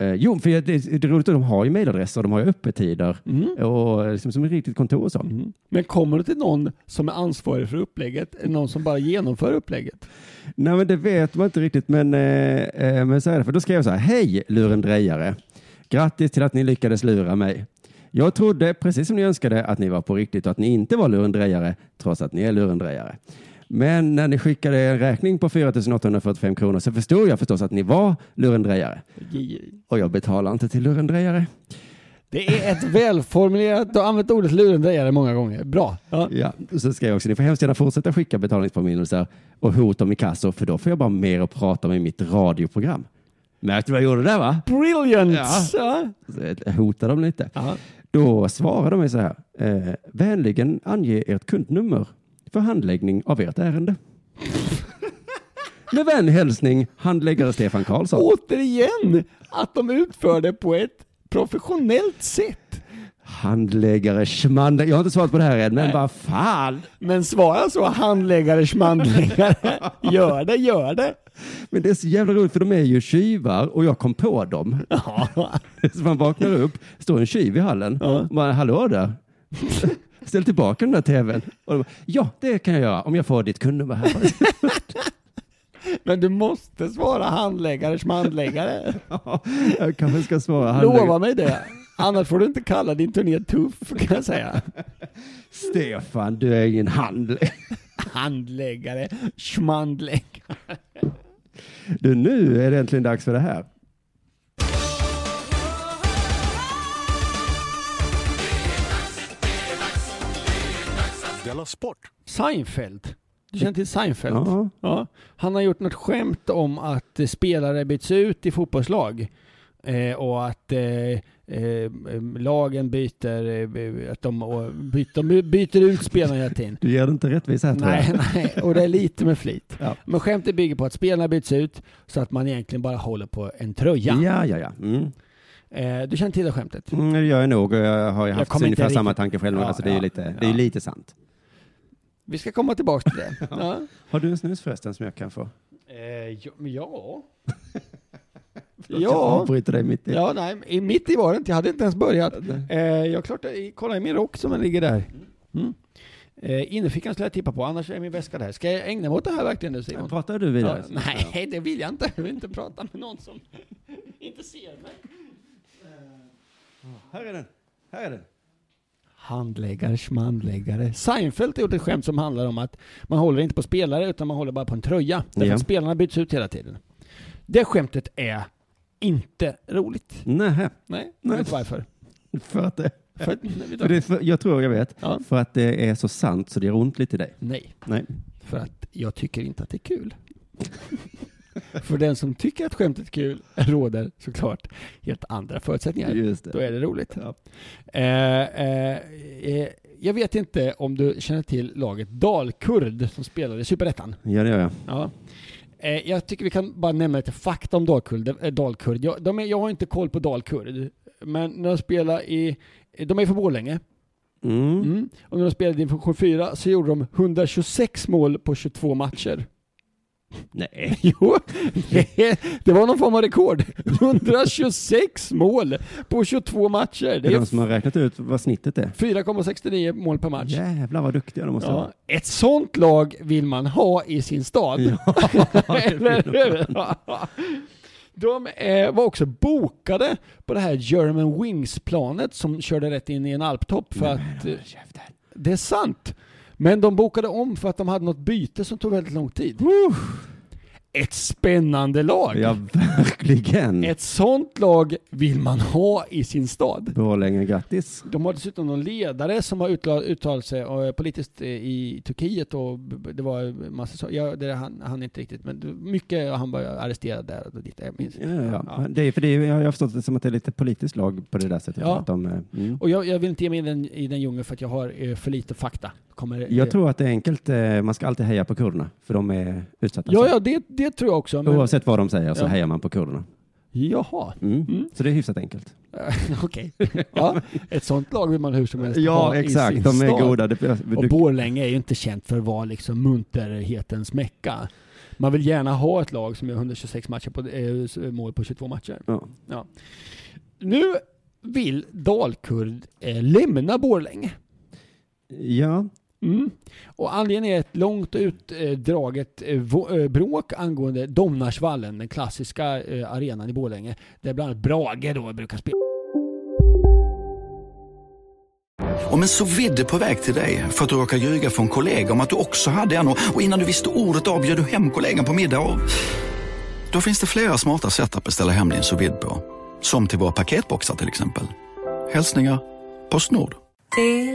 [SPEAKER 2] eh, jo, för jag- det, det är roligt att de har ju mejladresser, de har ju öppettider
[SPEAKER 4] Mm.
[SPEAKER 2] och liksom som ett riktigt kontor och så.
[SPEAKER 4] Men kommer det till någon som är ansvarig för upplägget, eller någon som bara genomför upplägget?
[SPEAKER 2] Nej, men det vet man inte riktigt, men, eh, eh, men så är det. För då skrev jag så här. Hej lurendrejare! Grattis till att ni lyckades lura mig. Jag trodde, precis som ni önskade, att ni var på riktigt och att ni inte var lurendrejare, trots att ni är lurendrejare. Men när ni skickade en räkning på 4 845 kronor så förstod jag förstås att ni var lurendrejare. Och jag betalar inte till lurendrejare.
[SPEAKER 4] Det är ett välformulerat, du har använt ordet lurendrejare många gånger. Bra. Ja.
[SPEAKER 2] Ja, så skrev jag också, ni får hemskt gärna fortsätta skicka betalningspåminnelser och hot om inkasso, för då får jag bara mer att prata om i mitt radioprogram. Märkte du vad jag gjorde där va?
[SPEAKER 4] Brilliant!
[SPEAKER 2] Ja.
[SPEAKER 4] Ja.
[SPEAKER 2] hota dem lite.
[SPEAKER 4] Ja.
[SPEAKER 2] Då svarar de mig så här. Eh, vänligen ange ert kundnummer för handläggning av ert ärende. Med vänlig hälsning, handläggare Stefan Karlsson.
[SPEAKER 4] Återigen, att de utför det på ett professionellt sätt.
[SPEAKER 2] Handläggare Schmander. Jag har inte svarat på det här än, men vad fan.
[SPEAKER 4] Men svara så, handläggare, schmandläggare. Gör det, gör det.
[SPEAKER 2] Men det är så jävla roligt för de är ju tjuvar och jag kom på dem. Så man vaknar upp, står en tjuv i hallen. Och man, Hallå där. Ställ tillbaka den där tvn. Och de bara, ja, det kan jag göra om jag får ditt kundnummer här.
[SPEAKER 4] Men du måste svara handläggare, schmandläggare.
[SPEAKER 2] Ja, jag kanske ska svara.
[SPEAKER 4] Lova mig det. Annars får du inte kalla din turné tuff, kan jag säga.
[SPEAKER 2] Stefan, du är ingen handläggare.
[SPEAKER 4] Handläggare, schmandläggare.
[SPEAKER 2] Du, nu är det äntligen dags för det här.
[SPEAKER 3] Della Sport.
[SPEAKER 4] Seinfeld. Du känner till Seinfeld?
[SPEAKER 2] Ja.
[SPEAKER 4] Ja. Han har gjort något skämt om att eh, spelare byts ut i fotbollslag. Eh, och att eh, eh, lagen byter, eh, att de, och byter, de byter ut spelarna hela tiden.
[SPEAKER 2] Du ger det inte rättvisa här tror
[SPEAKER 4] Nej,
[SPEAKER 2] jag.
[SPEAKER 4] nej, och det är lite med flit.
[SPEAKER 2] Ja.
[SPEAKER 4] Men skämtet bygger på att spelarna byts ut så att man egentligen bara håller på en tröja.
[SPEAKER 2] Ja, ja, ja. Mm.
[SPEAKER 4] Eh, du känner till det skämtet?
[SPEAKER 2] Mm, det gör jag nog. och Jag har ju haft
[SPEAKER 4] kommer inte
[SPEAKER 2] ungefär samma
[SPEAKER 4] riktigt-
[SPEAKER 2] tanke själv.
[SPEAKER 4] Ja,
[SPEAKER 2] alltså, det är ju
[SPEAKER 4] ja,
[SPEAKER 2] lite, det är ju
[SPEAKER 4] ja.
[SPEAKER 2] lite sant.
[SPEAKER 4] Vi ska komma tillbaka till det. ja.
[SPEAKER 2] Har du en snus förresten som jag kan få?
[SPEAKER 4] Eh, ja. men ja.
[SPEAKER 2] Jag
[SPEAKER 4] ja.
[SPEAKER 2] avbryter dig mitt i.
[SPEAKER 4] Ja, nej, i- mitt i var det inte. Jag hade inte ens börjat. Eh, jag klart, kolla i min rock som den ligger där. Mm. Eh, innerfickan skulle jag tippa på, annars är min väska där. Ska jag ägna mig åt det här verkligen nu Simon?
[SPEAKER 2] Pratar du vidare?
[SPEAKER 4] Ja, nej, det vill jag inte. Jag vill inte prata med någon som inte ser mig.
[SPEAKER 2] Här är den. Här är den.
[SPEAKER 4] Handläggare, schmandläggare. Seinfeld har gjort ett skämt som handlar om att man håller inte på spelare utan man håller bara på en tröja. Därför
[SPEAKER 2] Ja.
[SPEAKER 4] att spelarna byts ut hela tiden. Det skämtet är inte roligt.
[SPEAKER 2] Nej,
[SPEAKER 4] Nej,
[SPEAKER 2] Nej.
[SPEAKER 4] vet varför?
[SPEAKER 2] för att det,
[SPEAKER 4] För, att- nej, vet du
[SPEAKER 2] för det är för, jag tror jag vet.
[SPEAKER 4] Ja.
[SPEAKER 2] För att det är så sant så det gör ont lite i dig.
[SPEAKER 4] Nej,
[SPEAKER 2] Nej.
[SPEAKER 4] för att jag tycker inte att det är kul. för den som tycker att skämtet är kul råder såklart helt andra förutsättningar.
[SPEAKER 2] Just
[SPEAKER 4] Då
[SPEAKER 2] det.
[SPEAKER 4] är det roligt. Eh, eh, eh, jag vet inte om du känner till laget Dalkurd som spelade i Superettan.
[SPEAKER 2] Ja, det gör jag.
[SPEAKER 4] Ja. Eh, jag tycker vi kan bara nämna lite fakta om Dalkurd. Eh, Dalkurd. Jag, de är, jag har inte koll på Dalkurd, men när de spelar i... De är från Borlänge.
[SPEAKER 2] Mm.
[SPEAKER 4] Mm. Och när de spelade i division 4 så gjorde de 126 mål på 22 matcher.
[SPEAKER 2] Nej.
[SPEAKER 4] Jo, det var någon form av rekord. 126 mål på 22 matcher.
[SPEAKER 2] Det
[SPEAKER 4] Det
[SPEAKER 2] är
[SPEAKER 4] är
[SPEAKER 2] de som har räknat ut vad snittet är.
[SPEAKER 4] 4,69 mål per match.
[SPEAKER 2] Jävlar vad duktiga de måste
[SPEAKER 4] Ja,
[SPEAKER 2] vara.
[SPEAKER 4] ett sånt lag vill man ha i sin stad. Eller hur? De eh, var också bokade på det här German Wings-planet som körde rätt in i en alptopp för att... eh, Det är sant. Men de bokade om för att de hade något byte som tog väldigt lång tid. Ett spännande lag.
[SPEAKER 2] Ja, verkligen.
[SPEAKER 4] Ett sånt lag vill man ha i sin stad.
[SPEAKER 2] Borlänge, grattis.
[SPEAKER 4] De har dessutom någon ledare som har utla- uttalat sig eh, politiskt eh, i Turkiet och b- b- det var en massa saker. Ja, det han, han inte riktigt, men det- mycket han var arresterad där och dit. Jag minns.
[SPEAKER 2] Ja, ja. ja. Det är, för det är, jag har förstått det som att det är lite politiskt lag på det där sättet.
[SPEAKER 4] Ja.
[SPEAKER 2] Att de, eh, mm.
[SPEAKER 4] Och jag, jag vill inte ge mig i den, i den djungeln för att jag har eh, för lite fakta. Kommer, eh,
[SPEAKER 2] Jag tror att det är enkelt. eh, Man ska alltid heja på kurderna, för de är utsatta.
[SPEAKER 4] Ja, ja det, det tror jag också. Men,
[SPEAKER 2] Oavsett vad de säger så
[SPEAKER 4] Ja.
[SPEAKER 2] hejar man på kurderna.
[SPEAKER 4] Jaha,
[SPEAKER 2] Mm.
[SPEAKER 4] Mm.
[SPEAKER 2] Så det är hyfsat enkelt.
[SPEAKER 4] okej. Ja, ett sånt lag vill man hur som helst ha i sin
[SPEAKER 2] De är
[SPEAKER 4] stad.
[SPEAKER 2] goda. Det,
[SPEAKER 4] Och
[SPEAKER 2] du,
[SPEAKER 4] Borlänge är ju inte känt för att vara liksom munterhetens mecka. Man vill gärna ha ett lag som gör 126 matcher på, eh, s- mål på 22 matcher.
[SPEAKER 2] ja.
[SPEAKER 4] Nu vill Dalkurd eh, lämna Borlänge.
[SPEAKER 2] ja,
[SPEAKER 4] Mm. Och anledningen är ett långt och utdraget eh, vå- eh, bråk angående Domnarsvallen, den klassiska eh, arenan i Borlänge, där bland annat Brage då brukar spela.
[SPEAKER 3] Om en så vidde på väg till dig för att du råkar ljuga från kollega om att du också hade en och och innan du visste ordet av bjöd du hem kollegan på middag och... Då finns det flera smarta sätt att beställa hem din sous vide på. Som till våra paketboxar till exempel. Hälsningar Postnord.
[SPEAKER 6] Hej!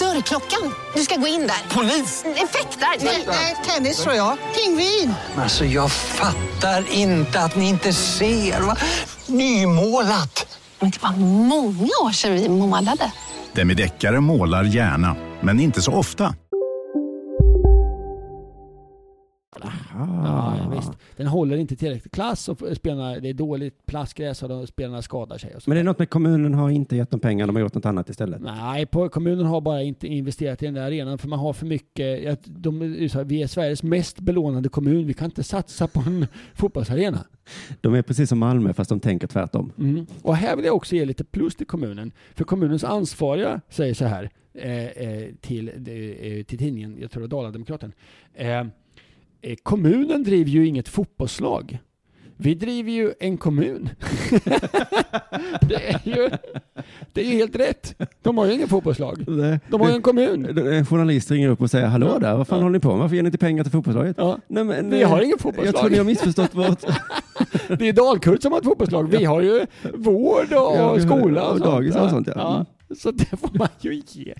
[SPEAKER 7] Dörrklockan. Du ska gå in där. Polis? Effektar? Nej, tennis tror jag. Pingvin.
[SPEAKER 8] Alltså jag fattar inte att ni inte ser. Va? Nymålat!
[SPEAKER 7] Men det var många år sedan vi målade.
[SPEAKER 9] Demideckare målar gärna, men inte så ofta.
[SPEAKER 4] Jaha. Ah,
[SPEAKER 2] Ah,
[SPEAKER 4] Ja, ja, visst. Den håller inte tillräckligt klass och eh, spelarna, det är dåligt plastgräs och de, spelarna skadar sig. Och så.
[SPEAKER 2] Men det är något med kommunen har inte gett dem pengar, de har gjort något annat istället.
[SPEAKER 4] Nej, på, kommunen har bara inte investerat i den där arenan för man har för mycket. ja, De, är ju så här, vi är Sveriges mest belånade kommun, vi kan inte satsa på en fotbollsarena.
[SPEAKER 2] De är precis som Malmö fast de tänker tvärtom.
[SPEAKER 4] Mm. Och här vill jag också ge lite plus till kommunen. För kommunens ansvariga säger så här eh, eh, till, eh, till tidningen, jag tror det var Dala-Demokraten. Eh, eh, kommunen driver ju inget fotbollslag. Vi driver ju en kommun. det, är ju, det är ju helt rätt. De har ju ingen fotbollslag. De har ju en kommun.
[SPEAKER 2] En journalist ringer upp och säger hallå där, vad fan håller ni på med? Varför ger ni inte pengar till fotbollslaget? Nej, men,
[SPEAKER 4] Vi
[SPEAKER 2] eh,
[SPEAKER 4] har ingen fotbollslag.
[SPEAKER 2] Jag tror ni har missförstått vårt...
[SPEAKER 4] det är Dalkurd som har ett fotbollslag. Vi har ju vård och
[SPEAKER 2] Ja, vi har-
[SPEAKER 4] skola och,
[SPEAKER 2] och
[SPEAKER 4] sånt.
[SPEAKER 2] dagis och
[SPEAKER 4] va?
[SPEAKER 2] sånt, ja. Mm.
[SPEAKER 4] Så det får man ju ge.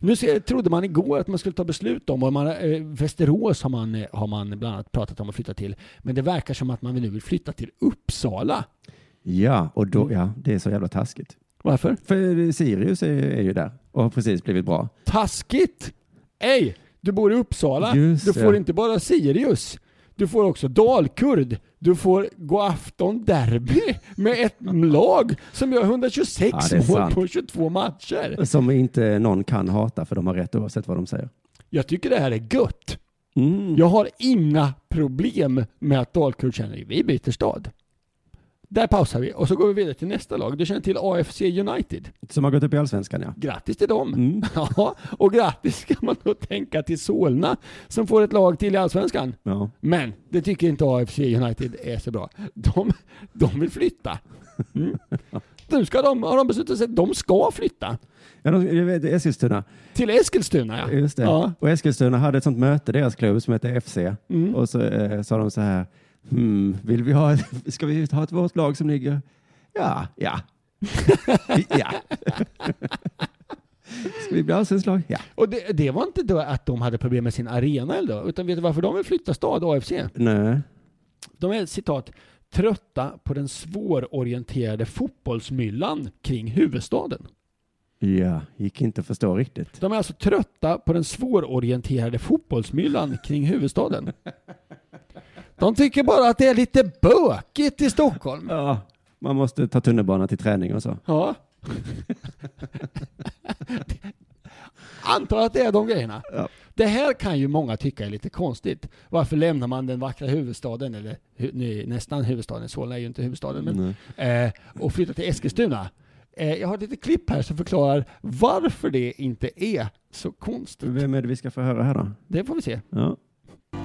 [SPEAKER 4] Nu ser- trodde man igår att man skulle ta beslut om, och man, eh, Västerås har man, eh, har man bland annat pratat om att flytta till, men det verkar som att man nu vill flytta till Uppsala.
[SPEAKER 2] Ja, och då, ja, det är så jävla taskigt.
[SPEAKER 4] Varför?
[SPEAKER 2] För eh, Sirius är, är ju där och har precis blivit bra.
[SPEAKER 4] Taskigt! Ej, du bor i Uppsala.
[SPEAKER 2] Just
[SPEAKER 4] du
[SPEAKER 2] det.
[SPEAKER 4] får inte bara Sirius. Du får också Dalkurd. Du får gå afton derby med ett lag som gör 126
[SPEAKER 2] Ja, det är
[SPEAKER 4] mål
[SPEAKER 2] sant.
[SPEAKER 4] på 22 matcher.
[SPEAKER 2] Som inte någon kan hata för de har rätt oavsett vad de säger.
[SPEAKER 4] Jag tycker det här är gött.
[SPEAKER 2] Mm.
[SPEAKER 4] Jag har inga problem med att Dalkurd känner vi byter stad. Där pausar vi och så går vi vidare till nästa lag. Du känner till AFC United.
[SPEAKER 2] Som har gått upp i allsvenskan ja.
[SPEAKER 4] Grattis till dem!
[SPEAKER 2] Mm.
[SPEAKER 4] Ja, och grattis ska man då tänka till Solna som får ett lag till i Allsvenskan.
[SPEAKER 2] ja.
[SPEAKER 4] Men det tycker inte AFC United är så bra. De, de vill flytta. Mm. Nu ska de, har de beslutat sig att de ska flytta.
[SPEAKER 2] ja de, jag vet, Eskilstuna.
[SPEAKER 4] Till Eskilstuna ja.
[SPEAKER 2] Just det.
[SPEAKER 4] ja.
[SPEAKER 2] Och Eskilstuna hade ett sånt möte, deras klubb som heter FC. Och så eh, sa de så här, hmm, vill vi ha, ett- ska vi ha ett vårt lag som ligger? Ja, ja. ja. ska vi bli allsvenskt lag? Ja.
[SPEAKER 4] Och det, det var inte då att de hade problem med sin arena eller då, utan vet du varför de vill flytta stad, AFC?
[SPEAKER 2] Nej.
[SPEAKER 4] De är citat trötta på den svårorienterade fotbollsmyllan kring huvudstaden.
[SPEAKER 2] Ja, gick inte att förstå riktigt.
[SPEAKER 4] De är alltså trötta på den svårorienterade fotbollsmyllan kring huvudstaden. De tycker bara att det är lite bökigt i Stockholm.
[SPEAKER 2] Ja, man måste ta tunnelbana till träning och så.
[SPEAKER 4] Ja. Antar att det är de grejerna. Det här kan ju många tycka är lite konstigt. Varför lämnar man den vackra huvudstaden, eller hu- nu, nästan huvudstaden, Solna är ju inte huvudstaden, men, eh, och flyttar till Eskilstuna? Eh, jag har ett litet klipp här som förklarar varför det inte är så konstigt.
[SPEAKER 2] Vem är det vi ska få höra här då?
[SPEAKER 4] Det får vi se.
[SPEAKER 2] Ja.
[SPEAKER 10] De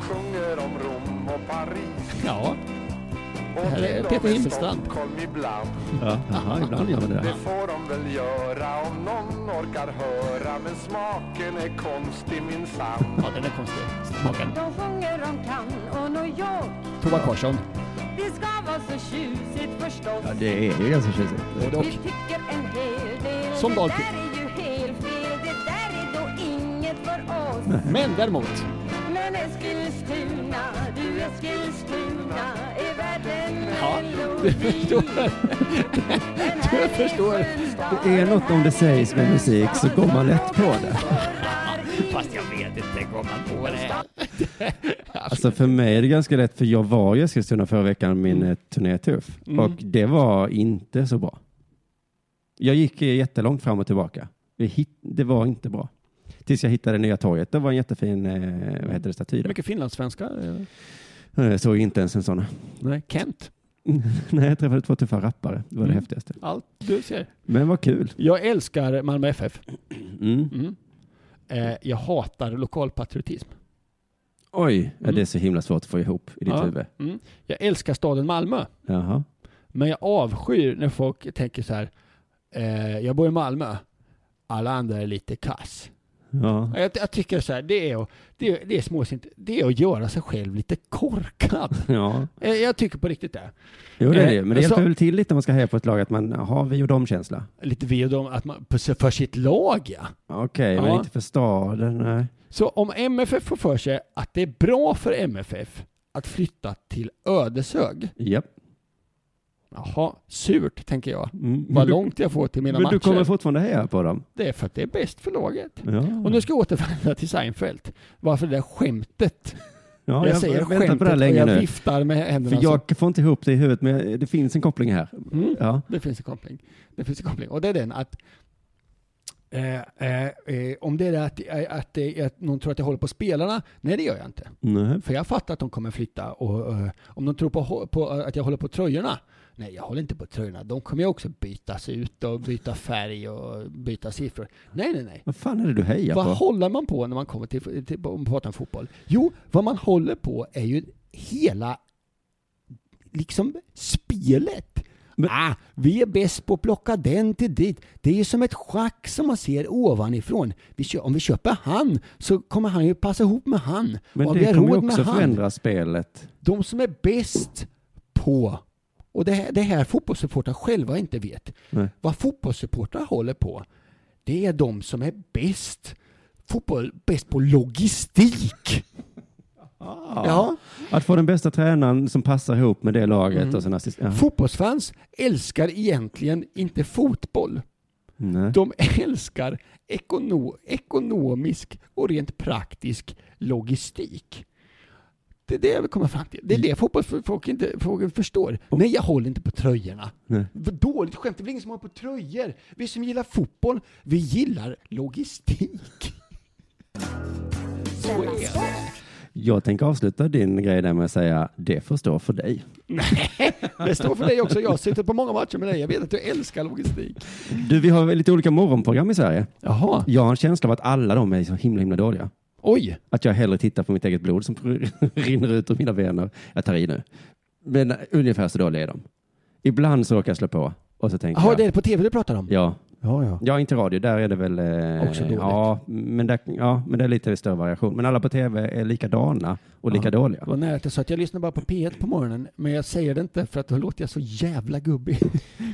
[SPEAKER 10] sjunger om Rom och Paris.
[SPEAKER 4] Ja.
[SPEAKER 10] Och
[SPEAKER 4] här
[SPEAKER 10] till
[SPEAKER 4] är
[SPEAKER 10] och
[SPEAKER 4] Peter
[SPEAKER 10] med
[SPEAKER 4] Himmelstrand.
[SPEAKER 10] Stockholm ibland.
[SPEAKER 2] Ja, jaha, ibland gör man det.
[SPEAKER 10] Det får de väl göra om någon orkar höra. Men smaken är konstig minsann.
[SPEAKER 4] Ja, den är konstig. Smaken.
[SPEAKER 11] De sjunger om Cannes och New York.
[SPEAKER 4] Tova Karlsson.
[SPEAKER 11] Det ska vara så tjusigt förstås.
[SPEAKER 2] Ja, det är ju ganska tjusigt.
[SPEAKER 11] Vi tycker en hel del.
[SPEAKER 4] Som
[SPEAKER 11] det
[SPEAKER 4] Dahlqvist.
[SPEAKER 11] där är ju helt fel. Det där är då inget för oss.
[SPEAKER 4] Men däremot.
[SPEAKER 11] Men Eskilstuna, du Eskilstuna, är värd en
[SPEAKER 4] Ja,
[SPEAKER 11] melodi.
[SPEAKER 4] du förstår. Du förstår.
[SPEAKER 2] Det är något om det sägs med musik så går man lätt på det.
[SPEAKER 4] Fast jag vet inte, går man på det?
[SPEAKER 2] Alltså för mig är det ganska lätt för jag var i Eskilstuna förra veckan, min eh, turné Tuff.
[SPEAKER 4] Mm.
[SPEAKER 2] Och det var inte så bra. Jag gick eh, jättelångt fram och tillbaka. Det hit- Det var inte bra. Tills jag hittade Nya torget. Det var en jättefin eh, vad heter det, staty. där.
[SPEAKER 4] Mycket finlandssvenskar. eh,
[SPEAKER 2] Eh, Såg inte ens en sån.
[SPEAKER 4] Nej, Kent.
[SPEAKER 2] Nej, jag träffade två tuffa rappare. Det var det
[SPEAKER 4] Mm.
[SPEAKER 2] häftigaste.
[SPEAKER 4] Allt du ser.
[SPEAKER 2] Men vad kul.
[SPEAKER 4] Jag älskar Malmö FF.
[SPEAKER 2] Mm.
[SPEAKER 4] Mm. Eh, jag hatar lokalpatriotism.
[SPEAKER 2] Oj, ja, det är så himla svårt att få ihop i ditt
[SPEAKER 4] Mm. Ja.
[SPEAKER 2] huvud.
[SPEAKER 4] Mm. Jag älskar staden Malmö.
[SPEAKER 2] Jaha.
[SPEAKER 4] Men jag avskyr när folk tänker så här. Eh, jag bor i Malmö. Alla andra är lite kass.
[SPEAKER 2] Ja.
[SPEAKER 4] Jag, jag tycker så här, det är, att, det, är, det, är småsint, det är att göra sig själv lite korkad.
[SPEAKER 2] ja.
[SPEAKER 4] Eh, Jag tycker på riktigt det.
[SPEAKER 2] Jo, det är det ju.
[SPEAKER 4] Eh,
[SPEAKER 2] Men det hjälper
[SPEAKER 4] så-
[SPEAKER 2] väl till lite om man ska heja på ett lag att man har vi och dem-känsla.
[SPEAKER 4] Lite vi och dem, att man, för sitt lag ja.
[SPEAKER 2] Okej,
[SPEAKER 4] Ja.
[SPEAKER 2] men inte för staden. Nej.
[SPEAKER 4] Så om MFF får för sig att det är bra för MFF att flytta till Ödeshög.
[SPEAKER 2] Japp.
[SPEAKER 4] jaha, surt tänker jag.
[SPEAKER 2] Mm. Men
[SPEAKER 4] Vad
[SPEAKER 2] du-
[SPEAKER 4] långt jag får till mina
[SPEAKER 2] Men
[SPEAKER 4] matcher.
[SPEAKER 2] du kommer fortfarande heja på dem?
[SPEAKER 4] Det är för att det är bäst för laget.
[SPEAKER 2] Ja.
[SPEAKER 4] Och nu ska jag återvända till Seinfeld. Varför det där skämtet?
[SPEAKER 2] Ja,
[SPEAKER 4] jag,
[SPEAKER 2] jag-
[SPEAKER 4] säger
[SPEAKER 2] jag väntar på det
[SPEAKER 4] skämtet
[SPEAKER 2] här
[SPEAKER 4] och
[SPEAKER 2] länge
[SPEAKER 4] jag
[SPEAKER 2] nu.
[SPEAKER 4] viftar med händerna.
[SPEAKER 2] För jag får inte ihop det i huvudet, men det finns en koppling här.
[SPEAKER 4] Mm.
[SPEAKER 2] Ja.
[SPEAKER 4] Det finns en koppling. Det finns en koppling. Och det är den att eh, eh, eh, om det är det att, eh, att, eh, att någon tror att jag håller på spelarna, nej det gör jag inte.
[SPEAKER 2] Nej.
[SPEAKER 4] För jag fattar att de kommer flytta och eh, om de tror på, hå- på eh, att jag håller på tröjorna, nej jag håller inte på tröjorna, de kommer ju också bytas ut och byta färg och byta siffror. Nej, nej, nej.
[SPEAKER 2] Vad fan är det du hejar
[SPEAKER 4] Vad
[SPEAKER 2] på?
[SPEAKER 4] håller man på när man kommer till, till om man pratar om fotboll? Jo, vad man håller på är ju hela liksom spelet. ah, vi är bäst på att plocka den till dit. Det är ju som ett schack som man ser ovanifrån. Vi kö- om vi köper han så kommer han ju passa ihop med han.
[SPEAKER 2] Men
[SPEAKER 4] Och om vi
[SPEAKER 2] det
[SPEAKER 4] har
[SPEAKER 2] kommer ju
[SPEAKER 4] råd med
[SPEAKER 2] också
[SPEAKER 4] han.
[SPEAKER 2] förändra spelet.
[SPEAKER 4] De som är bäst på, och det här, det här fotbollssupportrar själva inte vet,
[SPEAKER 2] Nej.
[SPEAKER 4] vad fotbollssupportrar håller på, det är de som är bäst, fotboll, bäst på logistik. Ja.
[SPEAKER 2] Att få den bästa tränaren som passar ihop med det laget
[SPEAKER 4] Mm.
[SPEAKER 2] och sen assist... Ja.
[SPEAKER 4] Fotbollsfans älskar egentligen inte fotboll.
[SPEAKER 2] Nej.
[SPEAKER 4] De älskar ekono, ekonomisk och rent praktisk logistik. Det är det jag vill komma fram till. Det
[SPEAKER 2] Mm.
[SPEAKER 4] är det fotbollsfolk inte folk förstår. Nej, jag håller inte på tröjorna.
[SPEAKER 2] Nej.
[SPEAKER 4] Vad dåligt skämt, det är väl ingen som håller på tröjor? Vi som gillar fotboll, vi gillar logistik. Så är det.
[SPEAKER 2] Jag tänker avsluta din grej där med att säga det får stå för dig.
[SPEAKER 4] Det står för dig också, jag har suttit på många matcher med dig, jag vet att du älskar logistik.
[SPEAKER 2] Du, vi har väl lite olika morgonprogram i Sverige.
[SPEAKER 4] Jaha.
[SPEAKER 2] Jag har en känsla av att alla de är så himla, himla dåliga.
[SPEAKER 4] Oj!
[SPEAKER 2] Att jag hellre tittar på mitt eget blod som rinner ut ur mina vener. Jag tar i nu. Men ungefär så dåliga är de. Ibland så råkar jag slå på och så tänker
[SPEAKER 4] Jaha,
[SPEAKER 2] jag.
[SPEAKER 4] det är på tv du pratar om?
[SPEAKER 2] Ja.
[SPEAKER 4] Ja, ja.
[SPEAKER 2] Ja, inte radio. Där är det väl... Eh,
[SPEAKER 4] Också dåligt.
[SPEAKER 2] Ja men, där, ja, men det är lite större variation. Men alla på tv är likadana och lika dåliga.
[SPEAKER 4] Det var nära att jag sa att jag lyssnar bara på P1 på morgonen, men jag säger det inte för att då låter jag så jävla gubbig.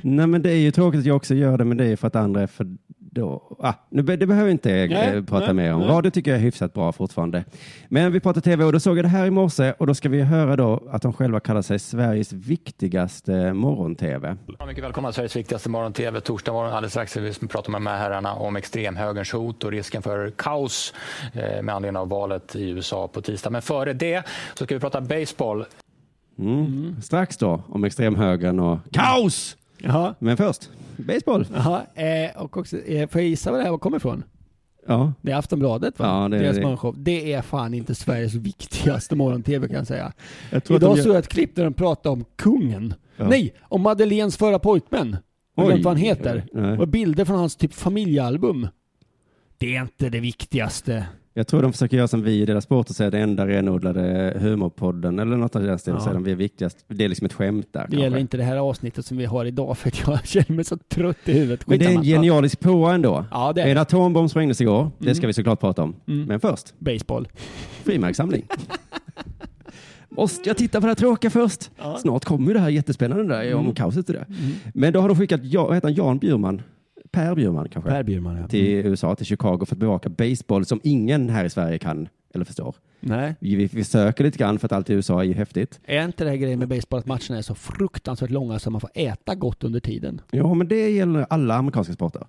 [SPEAKER 2] Nej, men det är ju tråkigt att jag också gör det, men det är för att andra är för då. Ah, nu, be- det behöver jag inte eh,
[SPEAKER 4] Nej,
[SPEAKER 2] prata
[SPEAKER 4] nej,
[SPEAKER 2] mer om.
[SPEAKER 4] nej.
[SPEAKER 2] Radio tycker jag är hyfsat bra fortfarande. Men vi pratar tv och då såg jag det här i morse och då ska vi höra då att de själva kallar sig Sveriges viktigaste morgon-tv.
[SPEAKER 12] Ja, mycket välkomna till Sveriges viktigaste morgon-tv. Torsdag morgon alldeles strax. Vi pratar med de här herrarna om extremhögerns hot och risken för kaos eh, med anledning av valet i USA på tisdag. Men före det så ska vi prata baseball.
[SPEAKER 2] Mm. Strax då om extremhögern och kaos! Men först, baseball.
[SPEAKER 4] Jaha, eh, och också, eh, får jag gissa var det här kommer ifrån?
[SPEAKER 2] Ja.
[SPEAKER 4] Det är Aftonbladet va?
[SPEAKER 2] Ja, det är
[SPEAKER 4] Deras
[SPEAKER 2] det.
[SPEAKER 4] morgonshow. Det är fan inte Sveriges viktigaste morgon-tv kan jag säga.
[SPEAKER 2] Jag tror att de
[SPEAKER 4] Idag
[SPEAKER 2] gör-
[SPEAKER 4] såg jag ett klipp där de pratade om kungen.
[SPEAKER 2] Ja.
[SPEAKER 4] Nej, om Madeleines förra pojkvän. Jag har
[SPEAKER 2] Oj.
[SPEAKER 4] glömt vad han heter.
[SPEAKER 2] Nej.
[SPEAKER 4] Och bilder från hans typ familjealbum. Det är inte det viktigaste.
[SPEAKER 2] Jag tror de försöker göra som vi i deras sport och säga det enda renodlade humorpodden eller något av den stilen.
[SPEAKER 4] Ja.
[SPEAKER 2] Ja. de vi är viktigast. Det är liksom ett skämt där.
[SPEAKER 4] Det
[SPEAKER 2] kanske.
[SPEAKER 4] gäller inte det här avsnittet som vi har idag för att jag känner mig så trött i huvudet.
[SPEAKER 2] Men det är en
[SPEAKER 4] Skitsamma.
[SPEAKER 2] genialisk påa ändå.
[SPEAKER 4] Ja, det är
[SPEAKER 2] En
[SPEAKER 4] det.
[SPEAKER 2] atombomb sprängdes igår. Det ska
[SPEAKER 4] Mm.
[SPEAKER 2] vi såklart prata om.
[SPEAKER 4] Mm.
[SPEAKER 2] Men först.
[SPEAKER 4] Baseball.
[SPEAKER 2] Frimärkssamling. Måste jag titta på det här tråkiga först?
[SPEAKER 4] Ja.
[SPEAKER 2] Snart kommer ju det här jättespännande där om
[SPEAKER 4] Mm.
[SPEAKER 2] kaoset och det. Men då har de skickat, ja, vad heter han, Jan Bjurman? Per Bjurman kanske?
[SPEAKER 4] Per Bjurman, ja.
[SPEAKER 2] Till USA, till Chicago för att bevaka baseball som ingen här i Sverige kan eller förstår.
[SPEAKER 4] Nej.
[SPEAKER 2] Vi, vi söker lite grann för att allt i USA är ju häftigt.
[SPEAKER 4] Är inte det här grejen med baseball att matcherna är så fruktansvärt långa så man får äta gott under tiden?
[SPEAKER 2] Ja, men det gäller alla amerikanska sporter.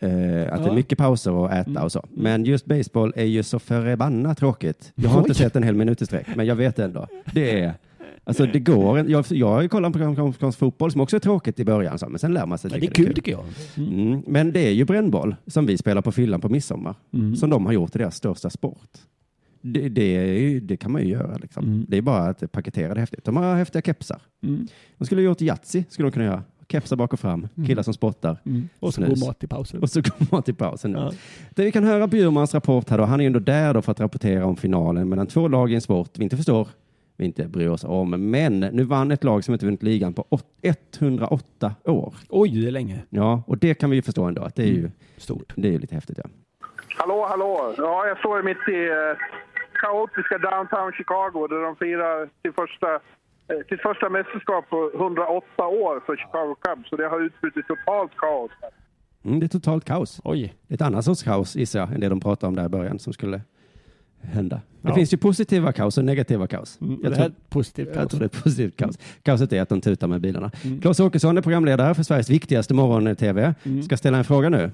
[SPEAKER 2] Eh, att det
[SPEAKER 4] Ja. Mm.
[SPEAKER 2] är mycket pauser och äta och så. Men just baseball är ju så förbannat tråkigt. Jag har
[SPEAKER 4] Oj.
[SPEAKER 2] inte sett en hel minut i sträck, men jag vet ändå. Det är... Alltså det går en- Jag, jag kollar på amerikansk fotboll som också är tråkigt i början, så, men sen lär man sig.
[SPEAKER 4] Men det
[SPEAKER 2] tycka
[SPEAKER 4] är kul tycker jag.
[SPEAKER 2] Mm. Men det är ju brännboll som vi spelar på fyllan på midsommar,
[SPEAKER 4] Mm.
[SPEAKER 2] som de har gjort till deras största sport. Det, det, är ju, det kan man ju göra. Liksom.
[SPEAKER 4] Mm.
[SPEAKER 2] Det är bara att paketera det häftigt. De har häftiga kepsar. De skulle ha gjort Yatzy, skulle de kunna göra. Kepsar bak och fram, killar som spottar.
[SPEAKER 4] Mm. Och så
[SPEAKER 2] snus.
[SPEAKER 4] god mat i pausen.
[SPEAKER 2] Och så går mat i pausen. Ja. Det vi kan höra Bjurmans rapport här då. Han är ju ändå där då för att rapportera om finalen mellan två lag i en sport vi inte förstår, vi inte bryr oss om. Men nu vann ett lag som inte vunnit ligan på åt- 108 år.
[SPEAKER 4] Oj, det är länge.
[SPEAKER 2] Ja, och det kan vi ju förstå ändå att det är ju
[SPEAKER 4] Mm. stort.
[SPEAKER 2] Det är ju lite häftigt. Ja.
[SPEAKER 13] Hallå, hallå! Ja, jag står mitt i eh, kaotiska downtown Chicago där de firar sitt första, eh, sitt första mästerskap på 108 år för Chicago Cubs. Så det har utbrutit totalt kaos.
[SPEAKER 2] Mm, det är totalt kaos.
[SPEAKER 4] Oj.
[SPEAKER 2] Ett annat sorts kaos gissar jag än det de pratade om där i början som skulle hända. Det
[SPEAKER 4] Ja.
[SPEAKER 2] finns ju positiva kaos och negativa kaos.
[SPEAKER 4] Mm,
[SPEAKER 2] Jag
[SPEAKER 4] det
[SPEAKER 2] tror-
[SPEAKER 4] här är ett positivt
[SPEAKER 2] Jag
[SPEAKER 4] kaos.
[SPEAKER 2] tror det är positivt kaos. Kaoset är att de tutar med bilarna.
[SPEAKER 4] Mm.
[SPEAKER 2] Claes Åkesson är programledare för Sveriges viktigaste morgon-tv.
[SPEAKER 4] Mm.
[SPEAKER 2] Ska ställa en fråga nu.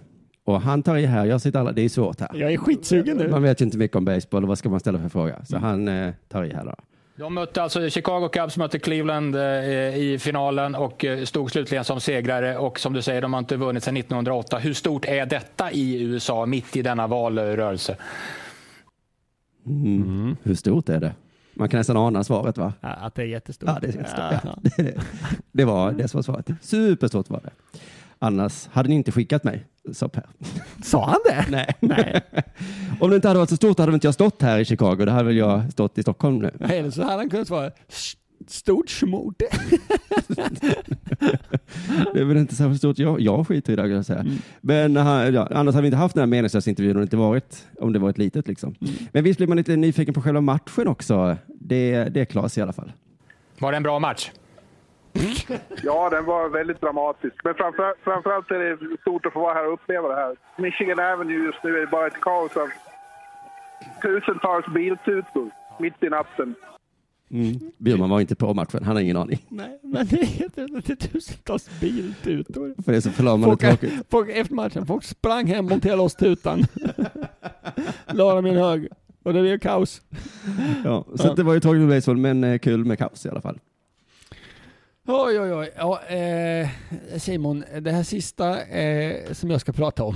[SPEAKER 2] Och han tar i här. Jag sitter alla. Det är svårt här.
[SPEAKER 4] Jag är skitsugen nu.
[SPEAKER 2] Man vet ju inte mycket om baseball och vad ska man ställa för fråga.
[SPEAKER 4] Mm.
[SPEAKER 2] Så han eh, tar i här då.
[SPEAKER 12] De mötte alltså Chicago Cubs mötte Cleveland eh, i finalen och eh, stod slutligen som segrare. Och som du säger, de har inte vunnit sedan 1908. Hur stort är detta i USA, mitt i denna valrörelse?
[SPEAKER 2] Mm. Hur stort är det? Man kan nästan ana svaret va?
[SPEAKER 4] Ja, Att det är jättestort.
[SPEAKER 2] Ja, det är jättestort.
[SPEAKER 4] Ja.
[SPEAKER 2] Ja. Det, det, det var det som var svaret. Superstort var det. Annars hade ni inte skickat mig, sa Per.
[SPEAKER 4] Sa han det?
[SPEAKER 2] Nej. Om det inte hade varit så stort hade väl inte jag stått här i Chicago. Då hade väl jag stått i Stockholm nu.
[SPEAKER 4] Eller så hade han kunnat svara "S- stort smort.
[SPEAKER 2] Det är väl inte särskilt stort. Jag, jag skiter i det, kan jag säga.
[SPEAKER 4] Mm.
[SPEAKER 2] Men han- ja, annars hade vi inte haft den här meningslösa intervjun om det inte varit, om det varit litet. Liksom.
[SPEAKER 4] Mm.
[SPEAKER 2] Men visst blir man lite nyfiken på själva matchen också. Det, det är Claes i alla fall.
[SPEAKER 12] Var det en bra match?
[SPEAKER 13] Ja, den var väldigt dramatisk. Men framför, framförallt är det stort att få vara här och uppleva det här. Michigan Avenue just nu är bara ett kaos av tusentals biltutor mitt i natten.
[SPEAKER 4] Mm.
[SPEAKER 2] Bjurman var inte på matchen. Han har ingen aning.
[SPEAKER 4] Nej, men det är jätte- det är tusentals biltutor.
[SPEAKER 2] För det är så förlamande
[SPEAKER 4] Folk,
[SPEAKER 2] tråkigt.
[SPEAKER 4] folk, efter matchen, folk sprang hem och monterade loss tutan. La dem i en hög. Och det blev kaos.
[SPEAKER 2] Ja, så att det var ju tråkigt med baseball, men eh, kul med kaos i alla fall.
[SPEAKER 4] Oj, oj, oj. Ja, eh, Simon, det här sista eh, som jag ska prata om.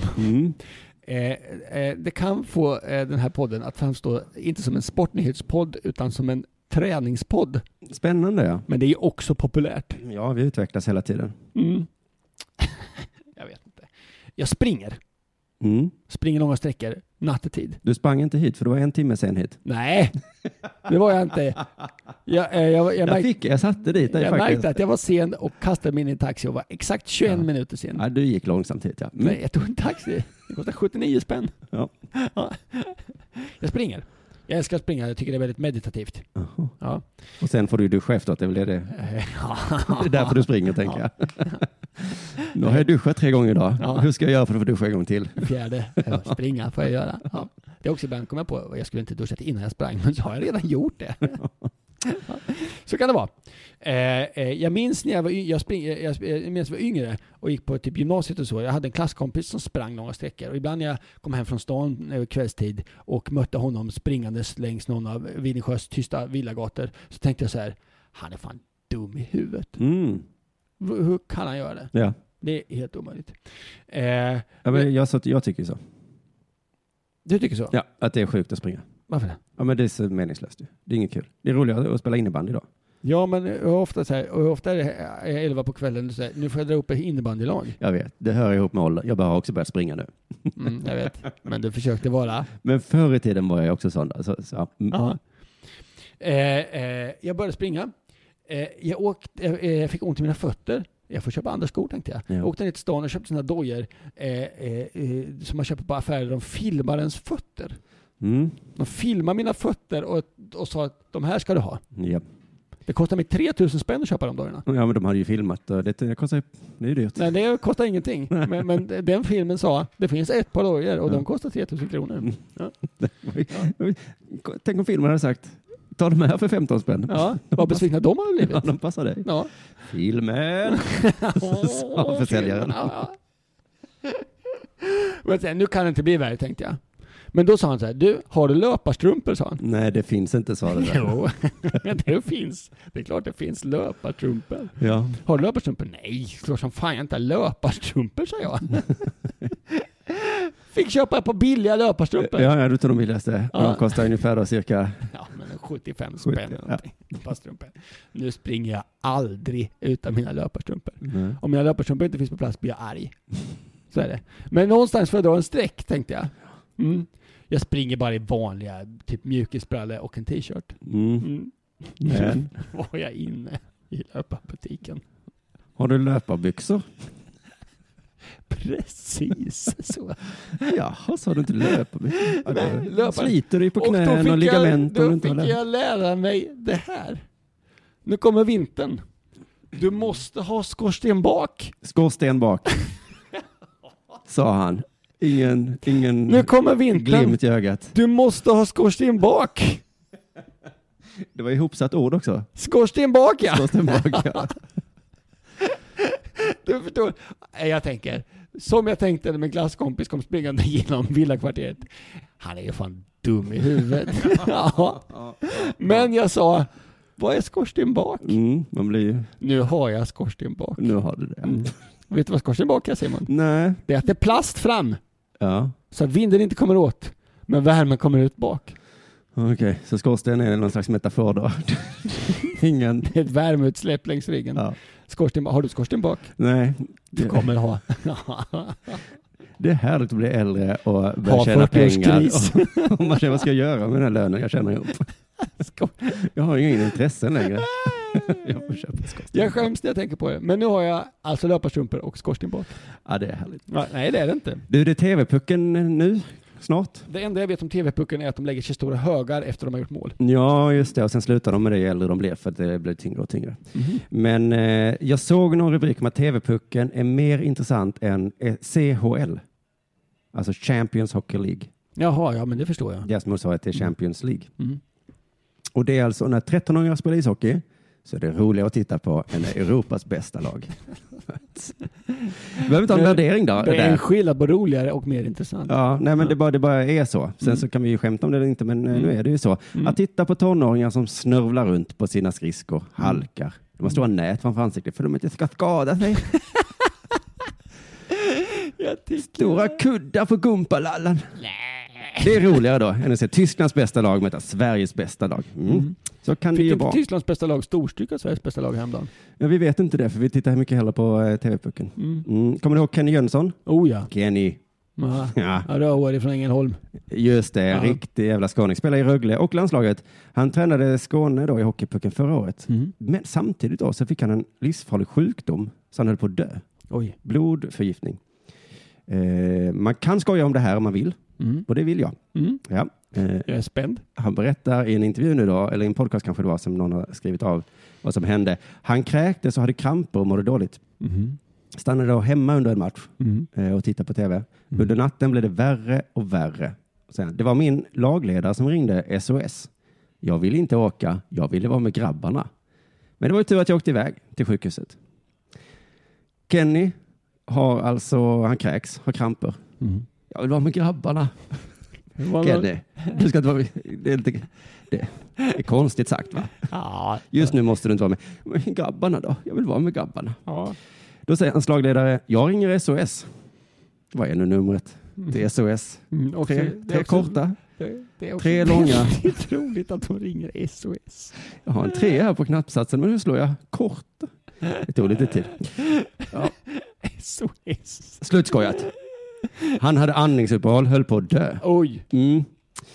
[SPEAKER 4] Eh, eh, det kan få eh, den här podden att framstå, inte som en sportnyhetspodd, utan som en träningspodd.
[SPEAKER 2] Spännande ja.
[SPEAKER 4] Men det är ju också populärt.
[SPEAKER 2] Ja, vi utvecklas hela tiden.
[SPEAKER 4] Mm. jag vet inte. Jag springer.
[SPEAKER 2] Mm.
[SPEAKER 4] Springer långa sträckor nattetid.
[SPEAKER 2] Du sprang inte hit, för du var en timme sen hit.
[SPEAKER 4] Nej, det var jag inte. Jag, eh, jag, jag,
[SPEAKER 2] Jag,
[SPEAKER 4] märk-
[SPEAKER 2] fick, jag satte dit dig
[SPEAKER 4] jag
[SPEAKER 2] faktiskt.
[SPEAKER 4] märkte att jag var sen och kastade mig in i en taxi och var exakt 21 minuter sen.
[SPEAKER 2] Ja, du gick långsamt hit ja. Mm.
[SPEAKER 4] Nej, jag tog en taxi. Det kostar 79 spänn.
[SPEAKER 2] Ja.
[SPEAKER 4] Ja. Jag springer. Jag älskar att springa. Jag tycker det är väldigt meditativt. Ja.
[SPEAKER 2] Och sen får du ju duscha efteråt, det är väl det det Det är därför du springer tänker jag. Nu har jag duschat tre gånger idag.
[SPEAKER 4] Ja.
[SPEAKER 2] Hur ska jag göra för att få duscha en gång till?
[SPEAKER 4] Fjärde, eh, springa får jag göra. Ja. Det är också ibland kom jag på, jag skulle inte duschat innan jag sprang, men så har jag redan gjort det. Ja. Så kan det vara. Eh, eh, jag minns när jag var, y- jag spring, jag, jag, eh, jag minns när jag var yngre och gick på typ gymnasiet och så. Jag hade en klasskompis som sprang långa sträckor och ibland när jag kom hem från stan eh, kvällstid och mötte honom springandes längs någon av Vidensjös tysta villagator så tänkte jag så här, han är fan dum i huvudet.
[SPEAKER 2] Mm.
[SPEAKER 4] V- Hur kan han göra det?
[SPEAKER 2] Ja.
[SPEAKER 4] Det är helt omöjligt. Eh,
[SPEAKER 2] Ja, men jag, så, jag tycker ju så.
[SPEAKER 4] Du tycker så?
[SPEAKER 2] Ja, att det är sjukt att springa.
[SPEAKER 4] Varför det?
[SPEAKER 2] Ja, men det är så meningslöst ju. Det är inget kul. Det är roligare att spela innebandy idag.
[SPEAKER 4] Ja, men eh, hur ofta, så här, och hur ofta är det eh, elva på kvällen och så här, nu får jag dra upp ett innebandylag.
[SPEAKER 2] Jag vet, det hör ihop med ålder. Jag bara har också börjat springa nu.
[SPEAKER 4] Mm, jag vet, men du försökte vara.
[SPEAKER 2] Men förr i tiden var jag också sån. där, Så, så, ja. Mm.
[SPEAKER 4] Ja. Eh, eh, jag började springa. Eh, jag, åkte, eh, eh, jag fick ont i mina fötter. Jag får köpa andra skor tänkte jag.
[SPEAKER 2] Ja.
[SPEAKER 4] Jag åkte ner till stan och köpte sådana dojor eh, eh, eh, som man köper på affärer. De filmar ens fötter.
[SPEAKER 2] Mm.
[SPEAKER 4] De filmar mina fötter och, och sa att de här ska du ha.
[SPEAKER 2] Ja.
[SPEAKER 4] Det kostar mig 3000 spänn att köpa de dojorna.
[SPEAKER 2] ja, men de hade ju filmat och det, det kostar ju, det är ju dyrt.
[SPEAKER 4] Nej, det kostar ingenting. Men, men den filmen sa det finns ett par dojor och de kostar 3000
[SPEAKER 2] Mm.
[SPEAKER 4] kronor. Ja.
[SPEAKER 2] Tänk om filmen hade sagt, ta de här för 15 spänn.
[SPEAKER 4] Ja, vad besvikna de hade blivit.
[SPEAKER 2] Ja, de passar dig.
[SPEAKER 4] Ja.
[SPEAKER 2] Filmen! Sa försäljaren.
[SPEAKER 4] Ja, ja. Och jag säger, nu kan det inte bli värre tänkte jag. Men då sa han så här, du, har du löparstrumpor? sa han.
[SPEAKER 2] Nej, det finns inte, sa det där.
[SPEAKER 4] Jo, det finns. Det är klart det finns löparstrumpor.
[SPEAKER 2] Ja.
[SPEAKER 4] Har du löparstrumpor? Nej, klart som fan jag inte har löparstrumpor, sa jag. Fick köpa ett par billiga löparstrumpor.
[SPEAKER 2] Ja, ja, du tar de billigaste.
[SPEAKER 4] Ja.
[SPEAKER 2] De kostar ungefär då, cirka...
[SPEAKER 4] Ja, men 75
[SPEAKER 2] 70,
[SPEAKER 4] spänn eller någonting. Löparstrumpor. Nu springer jag aldrig utan mina löparstrumpor.
[SPEAKER 2] Nej.
[SPEAKER 4] Om mina löparstrumpor inte finns på plats blir jag arg. Så är det. Men någonstans får jag dra en streck, tänkte jag. Mm. Jag springer bara i vanliga, typ mjukisbrallor och en t-shirt.
[SPEAKER 2] Mm.
[SPEAKER 4] Mm.
[SPEAKER 2] Men.
[SPEAKER 4] var jag inne i löparbutiken.
[SPEAKER 2] Har du löparbyxor?
[SPEAKER 4] Precis så.
[SPEAKER 2] Jaha, sa du inte löparbyxor? Ja,
[SPEAKER 4] Nej,
[SPEAKER 2] då
[SPEAKER 4] löpar-
[SPEAKER 2] Sliter du ju på
[SPEAKER 4] då
[SPEAKER 2] knän och,
[SPEAKER 4] fick
[SPEAKER 2] ligament
[SPEAKER 4] jag,
[SPEAKER 2] om
[SPEAKER 4] Då
[SPEAKER 2] du inte har
[SPEAKER 4] fick jag lära mig det här. Nu kommer vintern. Du måste ha skorsten bak.
[SPEAKER 2] Skorsten bak, sa han. Ingen, ingen
[SPEAKER 4] Nu kommer vintern.
[SPEAKER 2] glimt Mm. i ögat.
[SPEAKER 4] Du måste ha skorsten bak.
[SPEAKER 2] Det var ihopsatt ord också.
[SPEAKER 4] Skorsten bak ja.
[SPEAKER 2] Skorsten bak, ja.
[SPEAKER 4] Du förstår. Nej, Jag tänker, som jag tänkte när min klasskompis kom springande genom villakvarteret. Han är ju fan dum i huvudet. ja. Men jag sa, vad är skorsten bak?
[SPEAKER 2] Mm, man blir ju...
[SPEAKER 4] Nu har jag skorsten bak.
[SPEAKER 2] Nu har du det.
[SPEAKER 4] Mm. Vet du vad skorsten bak är Simon?
[SPEAKER 2] Nej.
[SPEAKER 4] Det är att det är plast fram.
[SPEAKER 2] Ja.
[SPEAKER 4] Så att vinden inte kommer åt. Men värmen kommer ut bak.
[SPEAKER 2] Okej, så skorsten är någon slags metafor då? Ingen...
[SPEAKER 4] Det är ett värmeutsläpp längs ryggen. Skorsten, har du skorsten bak?
[SPEAKER 2] Nej.
[SPEAKER 4] Du kommer ha.
[SPEAKER 2] Det är härligt att bli äldre och börja
[SPEAKER 4] Ha
[SPEAKER 2] tjäna
[SPEAKER 4] 40-årsgris.
[SPEAKER 2] pengar. Och man känner, vad ska jag göra med den här lönen jag tjänar ihop? Jag har ju ingen intressen längre. Jag får köpa skorsten.
[SPEAKER 4] jag skäms när jag tänker på det. Men nu har jag alltså löparstrumpor och skorsten bak.
[SPEAKER 2] Ja, det är härligt.
[SPEAKER 4] Ja, Nej, det är det inte.
[SPEAKER 2] Du, det är TV-pucken nu, snart.
[SPEAKER 4] Det enda jag vet om TV-pucken är att de lägger sig i stora högar efter de har gjort mål.
[SPEAKER 2] Ja, just det. Och sen slutar de med det ju äldre de blir för att det blir tyngre och tyngre.
[SPEAKER 4] Mhm.
[SPEAKER 2] Men eh, jag såg någon rubrik om att TV-pucken är mer intressant än eh, CHL. Alltså Champions Hockey League.
[SPEAKER 4] Jaha, ja men det förstår jag.
[SPEAKER 2] Deras motsvarighet till Champions League.
[SPEAKER 4] Mm.
[SPEAKER 2] Och det är alltså när 13-åringar spelar ishockey så är det roligare att titta på än när Europas bästa lag. Behöver inte ha en
[SPEAKER 4] Men
[SPEAKER 2] värdering då.
[SPEAKER 4] Det är
[SPEAKER 2] där.
[SPEAKER 4] en skillnad på roligare och mer intressant.
[SPEAKER 2] Ja, nej, men det bara, det bara är så. Sen
[SPEAKER 4] Mm.
[SPEAKER 2] så kan vi ju skämta om det eller inte, men eh, nu
[SPEAKER 4] Mm.
[SPEAKER 2] är det ju så.
[SPEAKER 4] Mm.
[SPEAKER 2] Att titta på tonåringar som snörvlar runt på sina skridskor, halkar. De har
[SPEAKER 4] Mm.
[SPEAKER 2] stora nät framför ansiktet för de inte ska skada sig. Stora kuddar på gumpalallan. Det är roligare då än att se Tysklands bästa lag möta Sveriges bästa lag. Mm. Så kan det
[SPEAKER 4] Fick
[SPEAKER 2] ju
[SPEAKER 4] inte
[SPEAKER 2] vara.
[SPEAKER 4] Tysklands bästa lag storstryk av Sveriges bästa lag häromdagen?
[SPEAKER 2] Ja, vi vet inte det, för vi tittar mycket hellre på eh, TV-pucken.
[SPEAKER 4] Mm.
[SPEAKER 2] Mm. Kommer du ihåg Kenny Jönsson?
[SPEAKER 4] Oh ja.
[SPEAKER 2] Kenny.
[SPEAKER 4] Ja.
[SPEAKER 2] Ja.
[SPEAKER 4] Rödhårig från Ängelholm.
[SPEAKER 2] Just det,
[SPEAKER 4] Ja.
[SPEAKER 2] riktig jävla skåning. Spelar i Rögle och landslaget. Han tränade Skåne då i Hockeypucken förra året.
[SPEAKER 4] Mm.
[SPEAKER 2] Men samtidigt då så fick han en livsfarlig sjukdom så han höll på att dö.
[SPEAKER 4] Oj.
[SPEAKER 2] Blodförgiftning. Eh, man kan skoja om det här om man vill. Och det vill jag.
[SPEAKER 4] Mm.
[SPEAKER 2] Ja. Eh,
[SPEAKER 4] Jag är spänd.
[SPEAKER 2] han berättar i en intervju nu då, eller i en podcast kanske det var, som någon har skrivit av vad som hände. Han kräktes och hade kramper och mådde dåligt.
[SPEAKER 4] Mhm.
[SPEAKER 2] Stannade då hemma under en match
[SPEAKER 4] Mm.
[SPEAKER 2] eh, och tittade på tv. Under natten blev det värre och värre. Sen, det var min lagledare som ringde SOS. Jag ville inte åka, jag ville vara med grabbarna. Men det var ju tur att jag åkte iväg till sjukhuset. Kenny har alltså, han kräks, har kramper.
[SPEAKER 4] Mm.
[SPEAKER 2] Jag vill vara med grabbarna.
[SPEAKER 4] Vad-
[SPEAKER 2] Kenny, du ska inte vara med. Det är, inte, det är konstigt sagt va?
[SPEAKER 4] Ja.
[SPEAKER 2] Just nu måste du inte vara med. Men grabbarna då? Jag vill vara med grabbarna.
[SPEAKER 4] Ja.
[SPEAKER 2] Då säger hans lagledare, jag ringer SOS. Vad är nu numret? Det är SOS.
[SPEAKER 4] Mm, också-
[SPEAKER 2] tre
[SPEAKER 4] det är
[SPEAKER 2] tre
[SPEAKER 4] också-
[SPEAKER 2] korta.
[SPEAKER 4] det- det är också
[SPEAKER 2] Tre långa.
[SPEAKER 4] väldigt roligt att de ringer SOS.
[SPEAKER 2] Jag har en tre här på knappsatsen, men hur slår jag? Kort. Det tog lite tid. Ja.
[SPEAKER 4] SOS.
[SPEAKER 2] Slutskojat. Han hade andningsuppehåll, höll på att dö.
[SPEAKER 4] Oj.
[SPEAKER 2] Mm.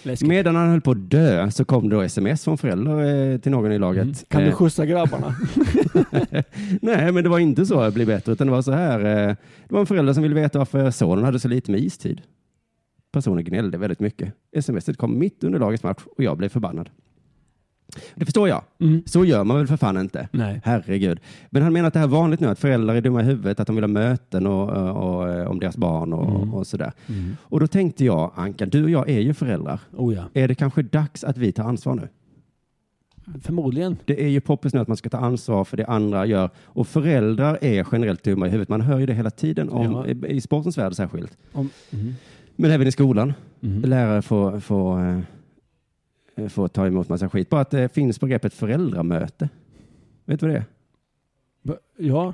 [SPEAKER 4] Läskigt.
[SPEAKER 2] Medan han höll på att dö så kom det då sms från föräldrar eh, till någon i laget.
[SPEAKER 4] Mm. Kan du
[SPEAKER 2] Eh,
[SPEAKER 4] skjutsa grabbarna?
[SPEAKER 2] Nej, men det var inte så att bli bättre, utan det var så här. eh, Det var en förälder som ville veta varför sonen hade så lite med istid. Personen gnällde väldigt mycket. Smset kom mitt under lagets match och jag blev förbannad. Det förstår jag. Så gör man väl för fan inte.
[SPEAKER 4] Mm. Nej.
[SPEAKER 2] Herregud. Men han menar att det här är vanligt nu, att föräldrar är dumma i huvudet, att de vill ha möten och, och, och, om deras barn och, och sådär. Och då tänkte jag, Anka, du och jag är ju föräldrar.
[SPEAKER 4] Oh ja.
[SPEAKER 2] Är det kanske dags att vi tar ansvar nu?
[SPEAKER 4] Förmodligen.
[SPEAKER 2] Det är ju poppis nu att man ska ta ansvar för det andra gör och föräldrar är generellt dumma i huvudet. Man hör ju det hela tiden om, i sportens värld särskilt.
[SPEAKER 4] Om, mhm.
[SPEAKER 2] Men även i skolan. Lärare får, får, eh, får ta emot massa skit. Bara att det finns begreppet föräldramöte. Vet du vad det är?
[SPEAKER 4] Va- Ja.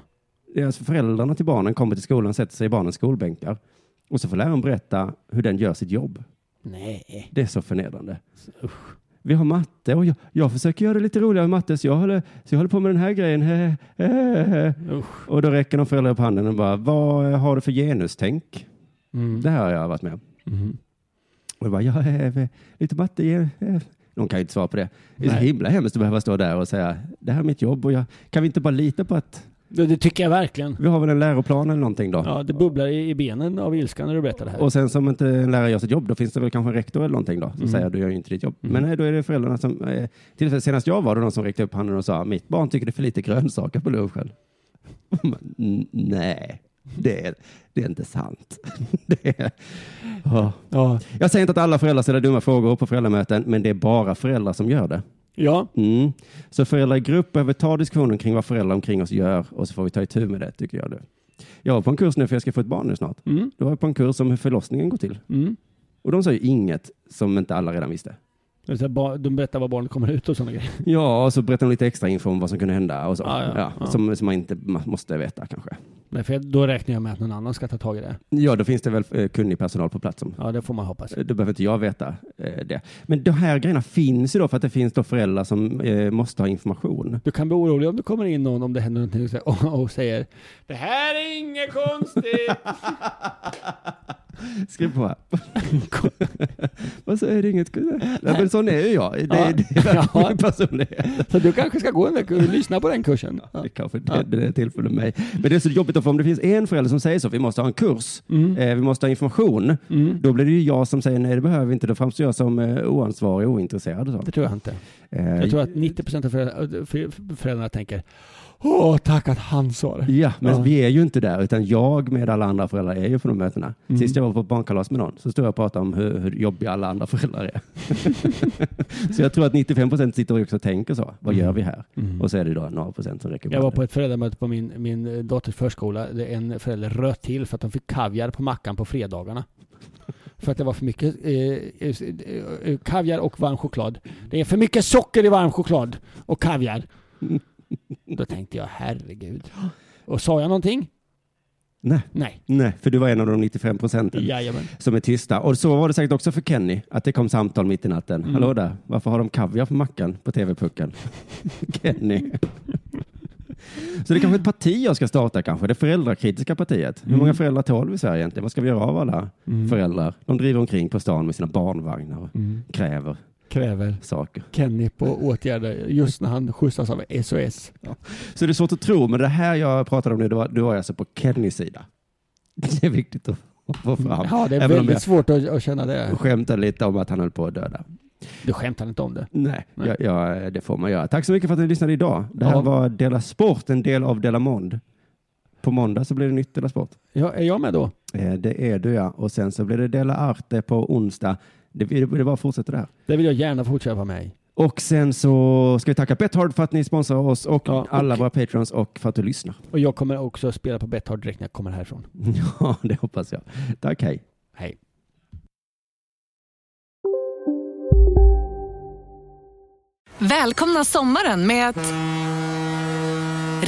[SPEAKER 2] Det är alltså föräldrarna till barnen kommer till skolan, sätter sig i barnens skolbänkar och så får läraren berätta hur den gör sitt jobb.
[SPEAKER 4] Nej.
[SPEAKER 2] Det är så förnedrande. Vi har matte och jag, jag försöker göra det lite roligare med matte så jag håller, så jag håller på med den här grejen. He, he, he, he. Och då räcker de föräldrar upp handen och bara, vad eh, har du för genustänk?
[SPEAKER 4] Mm. Mm-hmm.
[SPEAKER 2] Det här har jag varit med om. Och jag bara, ja, he, he, lite matte. gen- he." De kan ju inte svara på det. Det är så
[SPEAKER 4] Nej.
[SPEAKER 2] himla hemskt att behöva stå där och säga, det här är mitt jobb och jag, kan vi inte bara lita på att
[SPEAKER 4] Det, det tycker jag verkligen.
[SPEAKER 2] vi har väl en läroplan eller någonting då?
[SPEAKER 4] Ja, det bubblar i, i benen av ilska när du berättar det här.
[SPEAKER 2] Och sen som inte en lärare gör sitt jobb, då finns det väl kanske en rektor eller någonting då, som
[SPEAKER 4] Mm.
[SPEAKER 2] säger du gör ju inte ditt jobb.
[SPEAKER 4] Mm.
[SPEAKER 2] Men nej, då är det föräldrarna som, eh, till exempel senast jag var det någon som räckte upp handen och sa, mitt barn tycker det är för lite grönsaker på lunchen. Och man, "N- nej, Det är, det är inte sant. Det är, ja. Jag säger inte att alla föräldrar ställer dumma frågor på föräldramöten, men det är bara föräldrar som gör det.
[SPEAKER 4] Ja.
[SPEAKER 2] Mm. Så föräldrar i grupp behöver ta diskussionen kring vad föräldrar omkring oss gör och så får vi ta itu med det, tycker jag. Det. Jag var på en kurs nu, för jag ska få ett barn nu snart.
[SPEAKER 4] Mm.
[SPEAKER 2] Då var jag på en kurs om hur förlossningen går till.
[SPEAKER 4] Mm.
[SPEAKER 2] Och de sa ju inget som inte alla redan visste.
[SPEAKER 4] Det är så här, ba- De berättar var barnet kommer ut och sådana grejer.
[SPEAKER 2] Ja, och så berättade de lite extra info om vad som kunde hända och så.
[SPEAKER 4] Ah, Ja, ja, ja.
[SPEAKER 2] Som, som man inte ma- måste veta kanske.
[SPEAKER 4] Nej, för jag- då räknar jag med att någon annan ska ta tag i det.
[SPEAKER 2] Ja, då finns det väl eh, kunnig personal på plats. Som,
[SPEAKER 4] ja, det får man hoppas.
[SPEAKER 2] Då behöver inte jag veta eh, det. Men de här grejerna finns ju då för att det finns då föräldrar som eh, måste ha information.
[SPEAKER 4] Du kan bli orolig om det kommer in någon, om det händer någonting, och säger- och, och säger Det här är inget konstigt!
[SPEAKER 2] Skriv på här. Vad så är det inget? Nej, men sån är ju jag. Det,
[SPEAKER 4] Ja.
[SPEAKER 2] det är verkligen min personlighet.
[SPEAKER 4] Så du kanske ska gå en vecka och lyssna på den kursen?
[SPEAKER 2] Ja, det kanske det, det är till för mig. Men det är så jobbigt att få om det finns en förälder som säger så, vi måste ha en kurs,
[SPEAKER 4] Mm.
[SPEAKER 2] eh, vi måste ha information. Då blir det ju jag som säger nej, det behöver vi inte. Då framstår jag som eh, oansvarig och ointresserad. Och så.
[SPEAKER 4] Det tror jag inte.
[SPEAKER 2] Eh,
[SPEAKER 4] Jag tror att 90% av föräldrar- för- föräldrarna tänker Åh, tack att han sa det.
[SPEAKER 2] Ja, men
[SPEAKER 4] Ja.
[SPEAKER 2] vi är ju inte där, utan jag med alla andra föräldrar är ju på de mötena.
[SPEAKER 4] Mm.
[SPEAKER 2] Sist jag var på ett barnkalas med någon så stod jag och pratade om hur, hur jobbiga alla andra föräldrar är. så jag tror att 95 procent sitter också och tänker så. Vad gör vi här? Och så är det då några procent som räcker
[SPEAKER 4] Mm. Jag var på ett föräldramöte på min, min eh, dotters förskola. där En förälder röt till för att de fick kaviar på mackan på fredagarna. För att det var för mycket eh, eh, eh, kaviar och varm choklad. Det är för mycket socker i varm choklad och kaviar. Då tänkte jag herregud. Och sa jag någonting?
[SPEAKER 2] Nej.
[SPEAKER 4] Nej.
[SPEAKER 2] Nej, för du var en av de 95 procenten
[SPEAKER 4] Jajamän.
[SPEAKER 2] som är tysta. Och så var det säkert också för Kenny, att det kom samtal mitt i natten.
[SPEAKER 4] Mm.
[SPEAKER 2] Hallå där, varför har de kaviar på mackan på TV-pucken? Kenny. Så det är kanske ett parti jag ska starta kanske, det föräldrakritiska partiet. Hur
[SPEAKER 4] Mm.
[SPEAKER 2] många föräldrar tål vi i Sverige egentligen? Vad ska vi göra av alla föräldrar? De driver omkring på stan med sina barnvagnar och
[SPEAKER 4] Mm.
[SPEAKER 2] kräver
[SPEAKER 4] Kräver
[SPEAKER 2] saker.
[SPEAKER 4] Kenny på åtgärder just när han skjutsas av SOS.
[SPEAKER 2] Så det är svårt att tro, men det här jag pratade om nu, det var, det var jag alltså på Kennys sida. Det är viktigt att få fram.
[SPEAKER 4] Ja, det är
[SPEAKER 2] Även om
[SPEAKER 4] väldigt
[SPEAKER 2] jag-
[SPEAKER 4] svårt att, att känna det.
[SPEAKER 2] skämtade lite om att han höll på att döda.
[SPEAKER 4] Du skämtar inte om det.
[SPEAKER 2] Nej, Ja, ja, det får man göra. Tack så mycket för att ni lyssnade idag. Det här
[SPEAKER 4] Ja.
[SPEAKER 2] var Dela Sport, en del av Dela Mond. På måndag så blir det nytt Dela Sport.
[SPEAKER 4] Ja, är jag med då?
[SPEAKER 2] Eh, Det är du ja. Och sen så blir det Dela Arte på onsdag. Det, det, det bara fortsätter där.
[SPEAKER 4] Det vill jag gärna fortsätta med mig.
[SPEAKER 2] Och sen så ska vi tacka Bethard för att ni sponsrar oss och
[SPEAKER 4] Ja, och-
[SPEAKER 2] alla våra patrons och för att du lyssnar.
[SPEAKER 4] Och jag kommer också spela på Betthard direkt när jag kommer härifrån.
[SPEAKER 2] Ja, det hoppas jag. Tack, hej.
[SPEAKER 4] Hej.
[SPEAKER 6] Välkomna sommaren med att...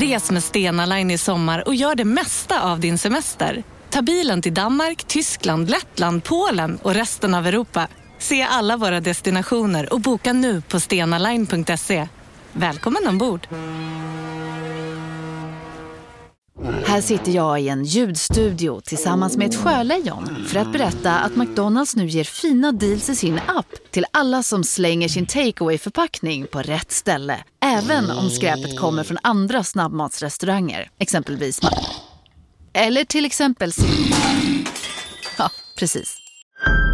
[SPEAKER 6] Res med Stena Line i sommar och gör det mesta av din semester. Ta bilen till Danmark, Tyskland, Lettland, Polen och resten av Europa. Se alla våra destinationer och boka nu på stenaline.se. E. Välkommen ombord!
[SPEAKER 14] Här sitter jag i en ljudstudio tillsammans med ett sjölejon för att berätta att McDonalds nu ger fina deals i sin app till alla som slänger sin takeaway förpackning på rätt ställe. Även om skräpet kommer från andra snabbmatsrestauranger, exempelvis Ma- Eller till exempel Sim- Ja, precis.